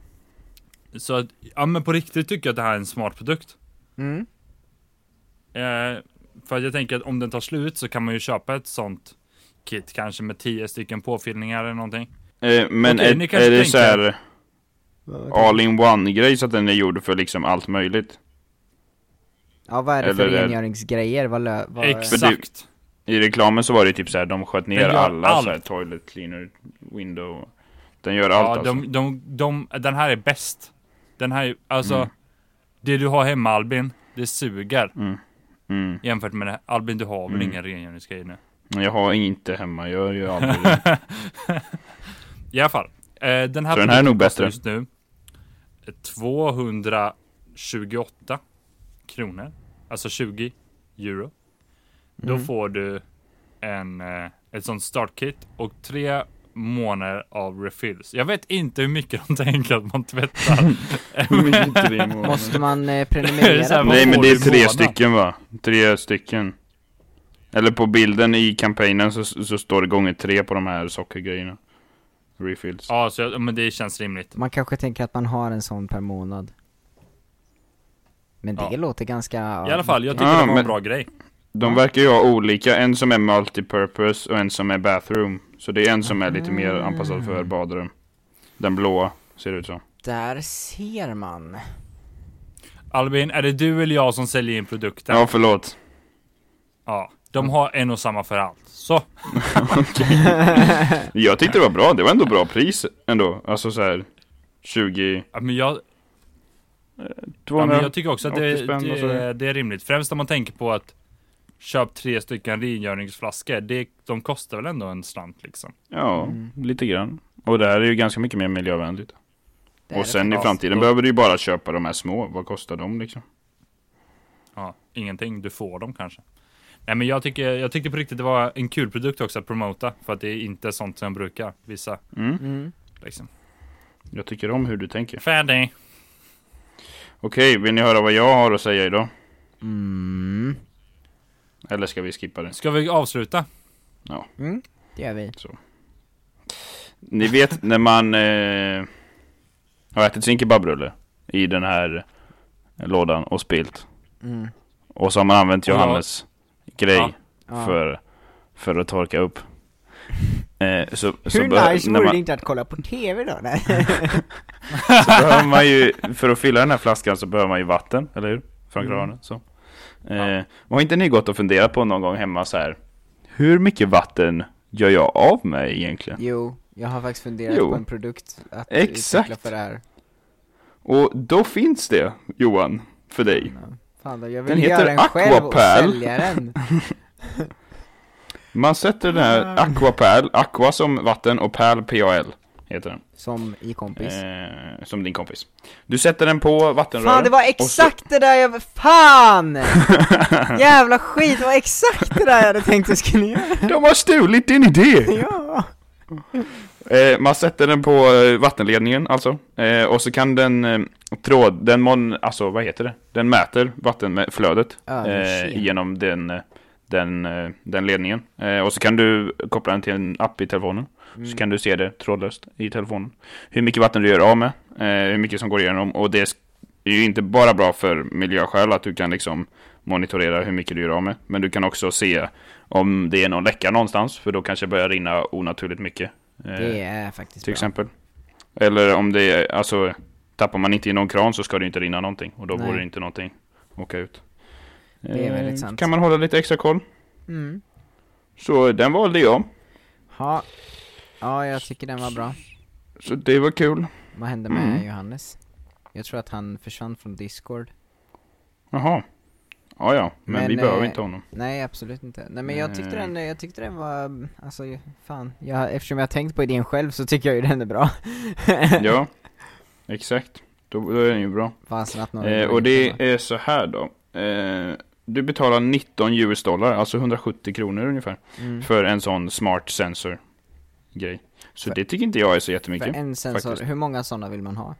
[SPEAKER 3] Så att, ja men på riktigt tycker jag att det här är en smart produkt.
[SPEAKER 2] Mm.
[SPEAKER 3] Eh, för jag tänker att om den tar slut så kan man ju köpa ett sånt kit kanske med 10 stycken påfyllningar eller någonting.
[SPEAKER 1] Eh, Men
[SPEAKER 3] Okej, ni
[SPEAKER 1] är,
[SPEAKER 3] kanske
[SPEAKER 1] är det
[SPEAKER 3] tänker-
[SPEAKER 1] så här all-in-one grej så att den är gjord för liksom allt möjligt?
[SPEAKER 2] Ja vad är det för
[SPEAKER 1] Eller är-
[SPEAKER 2] rengöringsgrejer? Vad, lö- vad
[SPEAKER 3] Exakt.
[SPEAKER 1] I reklamen så var det typ så här, de sköt ner
[SPEAKER 3] Den gör
[SPEAKER 1] alla
[SPEAKER 3] allt.
[SPEAKER 1] så här, toilet cleaner, window. Den gör allt
[SPEAKER 3] Ja,
[SPEAKER 1] alltså.
[SPEAKER 3] de, de, de, den här är bäst. Den här, är- alltså,
[SPEAKER 1] Mm.
[SPEAKER 3] det du har hemma Albin, det suger
[SPEAKER 1] Mm.
[SPEAKER 3] jämfört med det. Albin, du har väl
[SPEAKER 1] Mm.
[SPEAKER 3] ingen rengöringsgrej nu?
[SPEAKER 1] Men Jag har inte hemma, jag gör ju aldrig det.
[SPEAKER 3] I alla fall. Eh, den här
[SPEAKER 1] Så den här är nog
[SPEAKER 3] produkten kostar
[SPEAKER 1] bättre.
[SPEAKER 3] just nu. eh, 228 kronor. Alltså 20 euro. Då
[SPEAKER 2] Mm.
[SPEAKER 3] får du en, eh, ett sånt startkit och tre månader av refills. Jag vet inte hur mycket de tänker att man tvättar.
[SPEAKER 2] Måste man eh,
[SPEAKER 3] Det är så här,
[SPEAKER 2] prenumerera?
[SPEAKER 3] vad
[SPEAKER 1] Nej men
[SPEAKER 3] får
[SPEAKER 1] det är
[SPEAKER 3] du i
[SPEAKER 1] tre
[SPEAKER 3] månaden?
[SPEAKER 1] stycken va? Tre stycken. Eller på bilden i kampanjen så, så står det gånger tre på de här sockergrejerna. Refills.
[SPEAKER 3] ja, så jag, men det känns rimligt.
[SPEAKER 2] man kanske tänker att man har en sån per månad. Men det
[SPEAKER 3] Ja.
[SPEAKER 2] låter ganska...
[SPEAKER 3] I alla fall, jag tycker
[SPEAKER 1] Ja,
[SPEAKER 3] det var en
[SPEAKER 1] men-
[SPEAKER 3] bra grej.
[SPEAKER 1] De verkar ju ha olika, en som är multipurpose och en som är bathroom. Så det är en som är lite mer anpassad för badrum. Den blåa, ser det ut som.
[SPEAKER 2] Där ser man.
[SPEAKER 3] Albin, är det du eller jag som säljer in produkten?
[SPEAKER 1] Ja, förlåt.
[SPEAKER 3] Ja. De har en och samma för allt. Så.
[SPEAKER 1] Jag tyckte det var bra, det var ändå bra pris ändå. Alltså så här 20...
[SPEAKER 3] Ja, Men jag, ja,
[SPEAKER 1] 200.
[SPEAKER 3] men jag tycker också att det,
[SPEAKER 1] 80 spänn och
[SPEAKER 3] det,
[SPEAKER 1] sådär.
[SPEAKER 3] det är rimligt. Främst om man tänker på att köp tre stycken rengöringsflaskor. Det, de kostar väl ändå en slant liksom.
[SPEAKER 1] Ja,
[SPEAKER 2] Mm.
[SPEAKER 1] lite grann. Och det här är ju ganska mycket mer miljövänligt.
[SPEAKER 2] Det är
[SPEAKER 1] Och
[SPEAKER 2] det
[SPEAKER 1] sen i
[SPEAKER 3] fast.
[SPEAKER 1] framtiden
[SPEAKER 3] Då-
[SPEAKER 1] behöver du ju bara köpa de här små, vad kostar de liksom?
[SPEAKER 3] Ja, ingenting. Du får dem kanske. Nej men jag tycker, jag tycker på riktigt det var en kul produkt också att promota. För att det är inte sånt som jag brukar visa.
[SPEAKER 1] Mm.
[SPEAKER 2] Mm.
[SPEAKER 3] Liksom.
[SPEAKER 1] Jag tycker om hur du tänker.
[SPEAKER 3] Färdig.
[SPEAKER 1] Okej, vill ni höra vad jag har att säga idag?
[SPEAKER 4] Mm.
[SPEAKER 1] Eller ska vi skippa det?
[SPEAKER 3] Ska vi avsluta?
[SPEAKER 2] Mm, det gör vi.
[SPEAKER 1] Ni vet när man eh, har ätit sin kebabrulle i den här lådan och spilt.
[SPEAKER 2] Mm.
[SPEAKER 1] Och så har man använt
[SPEAKER 3] Ja.
[SPEAKER 1] Johannes grej
[SPEAKER 3] Ja.
[SPEAKER 2] Ja.
[SPEAKER 1] För, för att torka upp. Eh, så, så
[SPEAKER 4] Hur
[SPEAKER 1] behö-
[SPEAKER 4] nice
[SPEAKER 1] när
[SPEAKER 4] vore
[SPEAKER 1] man-
[SPEAKER 4] det inte att kolla på TV då? Nej.
[SPEAKER 1] Så behöver man ju, för att fylla den här flaskan så behöver man ju vatten, eller hur? Från
[SPEAKER 2] Mm.
[SPEAKER 1] kranen. Så. Eh,
[SPEAKER 3] Ja.
[SPEAKER 1] och Har inte ni gått och funderat på någon gång hemma så här, hur mycket vatten gör jag av mig egentligen?
[SPEAKER 2] Jo, jag har faktiskt funderat
[SPEAKER 1] Jo.
[SPEAKER 2] på en produkt att
[SPEAKER 1] Exakt.
[SPEAKER 2] utveckla för det här.
[SPEAKER 1] Och då finns det, Johan, för dig.
[SPEAKER 2] Fan då, jag vill
[SPEAKER 1] Den heter
[SPEAKER 2] göra den själv och
[SPEAKER 1] Aquapal.
[SPEAKER 2] sälja den.
[SPEAKER 1] Man sätter den här Aquapal, Aqua som vatten och Pal, PAL, heter den.
[SPEAKER 2] Som i kompis.
[SPEAKER 1] Eh, som din kompis. Du sätter den på vattenröret.
[SPEAKER 2] Fan det var exakt det där jag... Fan! Jävla skit, det var exakt det där jag hade tänkt jag skulle göra.
[SPEAKER 1] De har stulit din idé!
[SPEAKER 2] Ja.
[SPEAKER 1] Eh, man sätter den på eh, vattenledningen alltså. Eh, och så kan den eh, tråd, den mon, alltså vad heter det? Den mäter vattenflödet
[SPEAKER 2] Ja, men Ah, shit.
[SPEAKER 1] eh, genom den, eh, den, eh, den ledningen. Eh, och så kan du koppla den till en app i telefonen.
[SPEAKER 2] Mm.
[SPEAKER 1] Så kan du se det trådlöst i telefonen. Hur mycket vatten du gör av med, eh, hur mycket som går igenom. Och det är sk- är ju inte bara bra för miljöskäl att du kan liksom monitorera hur mycket du gör av med. Men du kan också se om det är någon läcka någonstans, för då kanske det börjar rinna onaturligt mycket. Eh,
[SPEAKER 2] Mm. Det är faktiskt
[SPEAKER 1] till
[SPEAKER 2] bra.
[SPEAKER 1] exempel. Eller om det är, alltså tappar man inte i någon kran så ska det ju inte rinna någonting och då
[SPEAKER 2] Nej.
[SPEAKER 1] borde det inte någonting åka ut.
[SPEAKER 2] Det är
[SPEAKER 1] Eh,
[SPEAKER 2] väldigt sant.
[SPEAKER 1] Kan man hålla lite extra koll.
[SPEAKER 2] Mm.
[SPEAKER 1] Så den valde jag.
[SPEAKER 2] Ha. Ja, jag tycker den var bra.
[SPEAKER 1] Så det var kul.
[SPEAKER 2] Vad hände med
[SPEAKER 1] Mm.
[SPEAKER 2] Johannes? Jag tror att han försvann från discord.
[SPEAKER 1] Jaha. Ja, ja, men,
[SPEAKER 2] Men,
[SPEAKER 1] vi behöver
[SPEAKER 2] eh,
[SPEAKER 1] inte honom.
[SPEAKER 2] Nej, absolut inte. Nej men jag tyckte
[SPEAKER 1] Nej.
[SPEAKER 2] den, jag tyckte den var, alltså ju- fan. Jag, eftersom jag har tänkt på idén själv så tycker jag ju den är bra.
[SPEAKER 1] Ja, exakt. Då, då är den ju bra.
[SPEAKER 2] Fasen att någon
[SPEAKER 1] Eh,
[SPEAKER 2] har
[SPEAKER 1] och
[SPEAKER 2] gjort
[SPEAKER 1] det
[SPEAKER 2] den då.
[SPEAKER 1] är så här då. Eh, du betalar 19 US dollar, alltså 170 kronor ungefär,
[SPEAKER 2] Mm.
[SPEAKER 1] för en sån smart sensor grej. Så
[SPEAKER 2] För-
[SPEAKER 1] det tycker inte jag är så
[SPEAKER 2] För
[SPEAKER 1] jättemycket.
[SPEAKER 2] en sensor,
[SPEAKER 1] faktiskt.
[SPEAKER 2] hur många sådana vill man ha?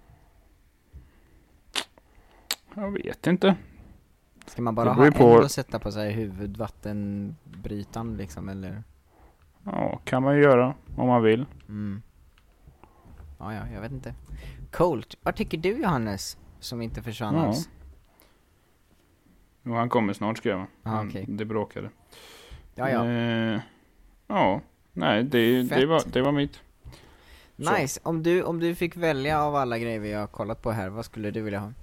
[SPEAKER 1] Jag vet inte.
[SPEAKER 2] Ska man
[SPEAKER 1] Det
[SPEAKER 2] bara
[SPEAKER 1] beror
[SPEAKER 2] ha
[SPEAKER 1] ju
[SPEAKER 2] en
[SPEAKER 1] på-
[SPEAKER 2] och sätta på sig huvudvattenbrytaren liksom eller?
[SPEAKER 1] Ja, kan man ju göra om man vill.
[SPEAKER 2] Mm. Ja, ja, jag vet inte. Coolt. Vad tycker du Johannes? Som inte försvann
[SPEAKER 1] Ja.
[SPEAKER 2] alls?
[SPEAKER 1] Och han kommer snart skrev han.
[SPEAKER 2] Ah,
[SPEAKER 1] Han-
[SPEAKER 2] okej.
[SPEAKER 1] Det bråkade.
[SPEAKER 2] Ja, ja.
[SPEAKER 1] Eh, ja, nej det, det,
[SPEAKER 2] Fett.
[SPEAKER 1] var, det var mitt. så.
[SPEAKER 2] nice. Om du, om du fick välja av alla grejer vi har kollat på här, vad skulle du vilja ha?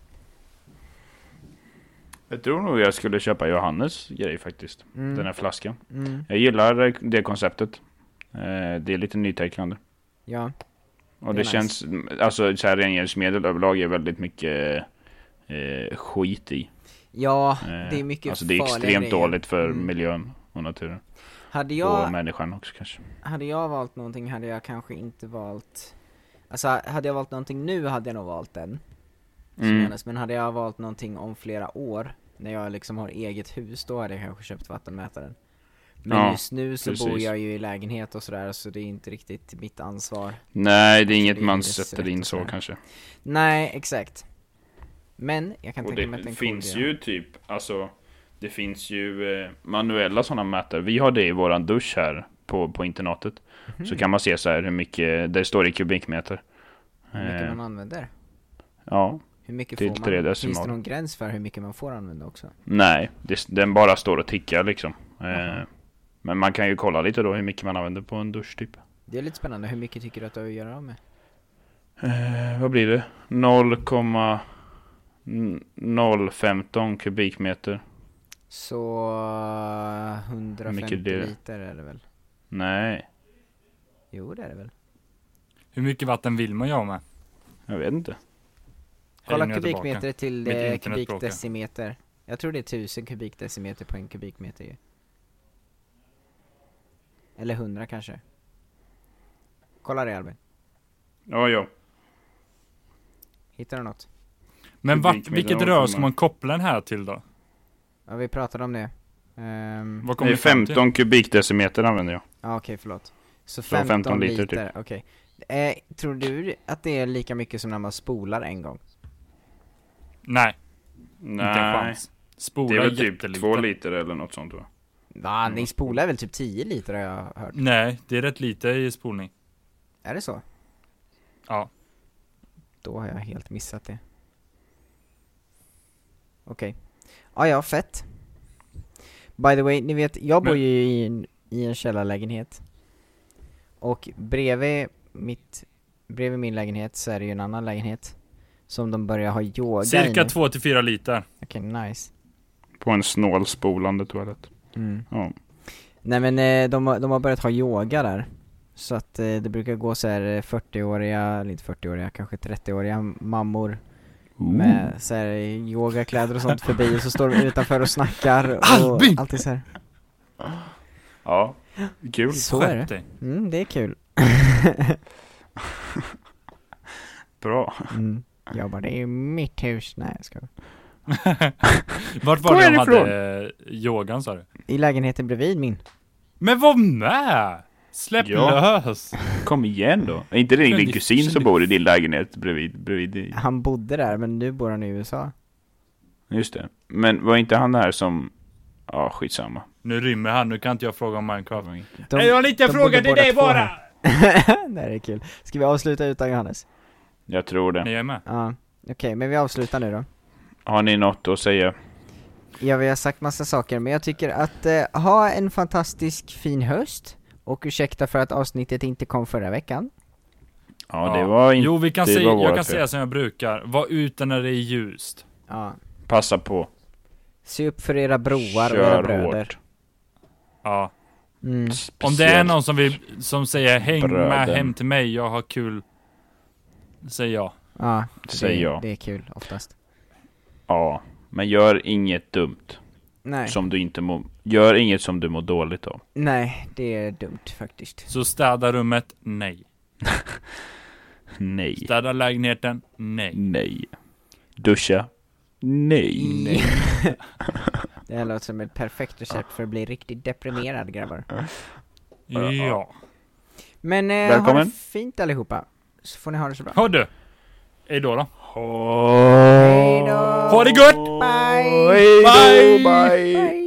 [SPEAKER 1] Jag tror nog jag skulle köpa Johannes grej faktiskt.
[SPEAKER 2] Mm.
[SPEAKER 1] Den här flaskan.
[SPEAKER 2] Mm.
[SPEAKER 1] Jag gillar eh, det konceptet. Eh, det är lite nytänkande.
[SPEAKER 2] Ja.
[SPEAKER 1] Och
[SPEAKER 2] Det är
[SPEAKER 1] det,
[SPEAKER 2] nice.
[SPEAKER 1] känns, alltså så här rengöringsmedel överlag är väldigt mycket eh, skit i.
[SPEAKER 2] Ja,
[SPEAKER 1] Eh,
[SPEAKER 2] det är mycket
[SPEAKER 1] Alltså det är
[SPEAKER 2] farliga
[SPEAKER 1] extremt
[SPEAKER 2] grejer.
[SPEAKER 1] dåligt för
[SPEAKER 2] Mm.
[SPEAKER 1] miljön och naturen.
[SPEAKER 2] Hade
[SPEAKER 1] Och
[SPEAKER 2] jag,
[SPEAKER 1] människan också kanske.
[SPEAKER 2] hade jag valt någonting hade jag kanske inte valt Alltså hade jag valt någonting nu hade jag nog valt den som
[SPEAKER 1] Mm.
[SPEAKER 2] Johannes, men hade jag valt någonting om flera år, när jag liksom har eget hus, då hade jag kanske köpt vattenmätaren. Men
[SPEAKER 1] Ja,
[SPEAKER 2] just nu så bor
[SPEAKER 1] precis.
[SPEAKER 2] jag ju i lägenhet och sådär, så det är inte riktigt mitt ansvar.
[SPEAKER 1] Nej, det är
[SPEAKER 2] Alltså,
[SPEAKER 1] inget
[SPEAKER 2] det är
[SPEAKER 1] man
[SPEAKER 2] hyresrätt
[SPEAKER 1] sätter in
[SPEAKER 2] och
[SPEAKER 1] så
[SPEAKER 2] sådär.
[SPEAKER 1] kanske.
[SPEAKER 2] Nej, exakt. Men jag kan
[SPEAKER 1] Och
[SPEAKER 2] tänka mig att
[SPEAKER 1] det
[SPEAKER 2] den
[SPEAKER 1] finns ju typ, alltså det finns ju eh, manuella sådana mätare. Vi har det i våran dusch här på, på internatet. Så
[SPEAKER 2] Mm.
[SPEAKER 1] kan man se så här hur mycket, där står det i kubikmeter.
[SPEAKER 2] Hur mycket
[SPEAKER 1] Eh,
[SPEAKER 2] man använder.
[SPEAKER 1] ja,
[SPEAKER 2] Hur mycket
[SPEAKER 1] till
[SPEAKER 2] får
[SPEAKER 1] tre
[SPEAKER 2] man? Finns det
[SPEAKER 1] decimaler.
[SPEAKER 2] någon gräns för hur mycket man får använda också?
[SPEAKER 1] nej, det, den bara står och tickar liksom. Eh,
[SPEAKER 2] Jaha.
[SPEAKER 1] men man kan ju kolla lite då hur mycket man använder på en dusch typ.
[SPEAKER 2] Det är lite spännande, hur mycket tycker du att du har att göra av med?
[SPEAKER 1] Eh, vad blir det? 0,015 kubikmeter.
[SPEAKER 2] Så eh, 150
[SPEAKER 1] mycket det-
[SPEAKER 2] liter är det väl?
[SPEAKER 1] Nej,
[SPEAKER 2] Jo det är det väl?
[SPEAKER 3] Hur mycket vatten vill man göra med?
[SPEAKER 1] jag vet inte.
[SPEAKER 3] Hej,
[SPEAKER 2] Kolla
[SPEAKER 3] nu är jag tillbaka.
[SPEAKER 2] kubikmeter till
[SPEAKER 3] Mitt
[SPEAKER 2] eh,
[SPEAKER 3] internet bråkar.
[SPEAKER 2] kubikdecimeter. Jag tror det är 1000 kubikdecimeter på en kubikmeter ju. Eller 100 kanske. Kolla det Albin.
[SPEAKER 1] Ja, ja.
[SPEAKER 2] Hittar du något?
[SPEAKER 3] Men vart,
[SPEAKER 1] Kubikmeter
[SPEAKER 3] vilket
[SPEAKER 1] har
[SPEAKER 3] rör
[SPEAKER 1] vi
[SPEAKER 3] ska man koppla den här till då?
[SPEAKER 2] Ja, vi pratade om det. Ehm,
[SPEAKER 3] Vad kommer
[SPEAKER 1] Nej,
[SPEAKER 3] vi fram till?
[SPEAKER 1] 15 kubikdecimeter använder jag.
[SPEAKER 2] Ja okej, förlåt. Så 15,
[SPEAKER 1] 15
[SPEAKER 2] liter,
[SPEAKER 3] typ.
[SPEAKER 1] liter,
[SPEAKER 2] okej. Eh, tror du att det är lika mycket som när man spolar en gång?
[SPEAKER 3] Nej, inte en
[SPEAKER 1] Nej,
[SPEAKER 3] chans.
[SPEAKER 1] det är
[SPEAKER 3] Spola
[SPEAKER 1] väl typ
[SPEAKER 3] jättelite.
[SPEAKER 1] två liter eller något sånt va?
[SPEAKER 2] Va,
[SPEAKER 3] Mm.
[SPEAKER 2] ni spolar väl typ 10 liter har jag hört?
[SPEAKER 3] Nej, det är rätt lite i spolning.
[SPEAKER 2] Är det så?
[SPEAKER 3] Ja.
[SPEAKER 2] Då har jag helt missat det. Okej. Ah, ja, fett. By the way, ni vet, jag bor
[SPEAKER 3] Men-
[SPEAKER 2] ju i en, i en källarlägenhet. Och bredvid, mitt, bredvid min lägenhet så är det ju en annan lägenhet. Som de börjar ha yoga i
[SPEAKER 3] Cirka
[SPEAKER 2] nu.
[SPEAKER 3] två till fyra liter.
[SPEAKER 2] Okej, nice.
[SPEAKER 1] På en snål spolande toalett.
[SPEAKER 2] Mm.
[SPEAKER 1] Ja.
[SPEAKER 2] Nej men eh, de, har- de har börjat ha yoga där. Så att eh, det brukar gå så här eh, 40-åriga, eller inte 40-åriga, kanske 30-åriga mammor med så här eh, yogakläder och sånt förbi och så står de utanför och snackar och
[SPEAKER 3] Albin!
[SPEAKER 2] allt är så här.
[SPEAKER 1] Ja, kul.
[SPEAKER 2] Så är det.
[SPEAKER 3] Skärp dig.
[SPEAKER 2] Mm, det är kul.
[SPEAKER 1] Bra.
[SPEAKER 2] Mm. Jag bara, det är mitt hus. Nej jag skojar.
[SPEAKER 3] Vart
[SPEAKER 1] Kom
[SPEAKER 3] var det de
[SPEAKER 1] härifrån.
[SPEAKER 3] hade eh, yogan sa du?
[SPEAKER 2] I lägenheten bredvid min.
[SPEAKER 3] Men var med! Släpp
[SPEAKER 1] Ja.
[SPEAKER 3] lös!
[SPEAKER 1] Kom igen då. Är inte det
[SPEAKER 3] Men
[SPEAKER 1] din
[SPEAKER 3] det-
[SPEAKER 1] kusin
[SPEAKER 3] det-
[SPEAKER 1] som bor i din lägenhet bredvid, bredvid dig?
[SPEAKER 2] Han bodde där men nu bor han i USA.
[SPEAKER 1] Just det. Men var inte han där som... Ja, skitsamma.
[SPEAKER 3] Nu rymmer han, nu kan inte jag fråga om Minecraft.
[SPEAKER 2] De,
[SPEAKER 3] jag har en liten
[SPEAKER 2] de
[SPEAKER 3] fråga
[SPEAKER 2] bodde
[SPEAKER 3] till
[SPEAKER 2] båda
[SPEAKER 3] dig
[SPEAKER 2] två
[SPEAKER 3] bara!
[SPEAKER 2] här. det här är kul. Ska vi avsluta utan Johannes?
[SPEAKER 1] Jag tror det.
[SPEAKER 3] Nej, jag är med.
[SPEAKER 2] Ja. Okej, men vi avslutar nu då.
[SPEAKER 1] Har ni något att säga?
[SPEAKER 2] Ja, vi har sagt massa saker, men jag tycker att eh, ha en fantastisk fin höst och ursäkta för att avsnittet inte kom förra veckan.
[SPEAKER 1] Ja, det var inte...
[SPEAKER 3] Jo, vi kan
[SPEAKER 1] det
[SPEAKER 3] säga,
[SPEAKER 1] var vårat
[SPEAKER 3] jag kan
[SPEAKER 1] fel.
[SPEAKER 3] säga som jag brukar. Var ute när det är ljust.
[SPEAKER 2] Ja.
[SPEAKER 1] Passa på.
[SPEAKER 3] Mm.
[SPEAKER 2] Se upp för era broar och era
[SPEAKER 1] Kör
[SPEAKER 2] bröder.
[SPEAKER 1] hårt.
[SPEAKER 3] Ja.
[SPEAKER 2] Mm.
[SPEAKER 3] Om det är
[SPEAKER 1] Speciellt.
[SPEAKER 3] någon som, vill, som säger häng med
[SPEAKER 1] Bröden.
[SPEAKER 3] hem till mig, jag har kul. Säger jag.
[SPEAKER 2] Ja, för
[SPEAKER 1] Säger
[SPEAKER 2] det,
[SPEAKER 1] jag.
[SPEAKER 2] det är kul oftast.
[SPEAKER 1] Ja, men gör inget dumt.
[SPEAKER 2] Nej,
[SPEAKER 1] Som du inte må... Gör inget som du mår dåligt av.
[SPEAKER 2] nej, det är dumt faktiskt.
[SPEAKER 3] Så städa rummet? Nej.
[SPEAKER 1] Nej.
[SPEAKER 3] Städa lägenheten? Nej.
[SPEAKER 1] Nej. Duscha? Nej.
[SPEAKER 2] Nej. det här låter som ett perfekt recept för att bli riktigt deprimerad grabbar.
[SPEAKER 3] Ja.
[SPEAKER 2] Men eh, ha
[SPEAKER 1] Välkommen.
[SPEAKER 2] det fint allihopa, så får ni ha det så bra.
[SPEAKER 3] Hör du! Hej då då.
[SPEAKER 1] Ha
[SPEAKER 2] Hejdå!
[SPEAKER 3] Ha det gött!
[SPEAKER 2] Bye!
[SPEAKER 1] Hejdå,
[SPEAKER 3] Bye!
[SPEAKER 1] bye.
[SPEAKER 2] Bye.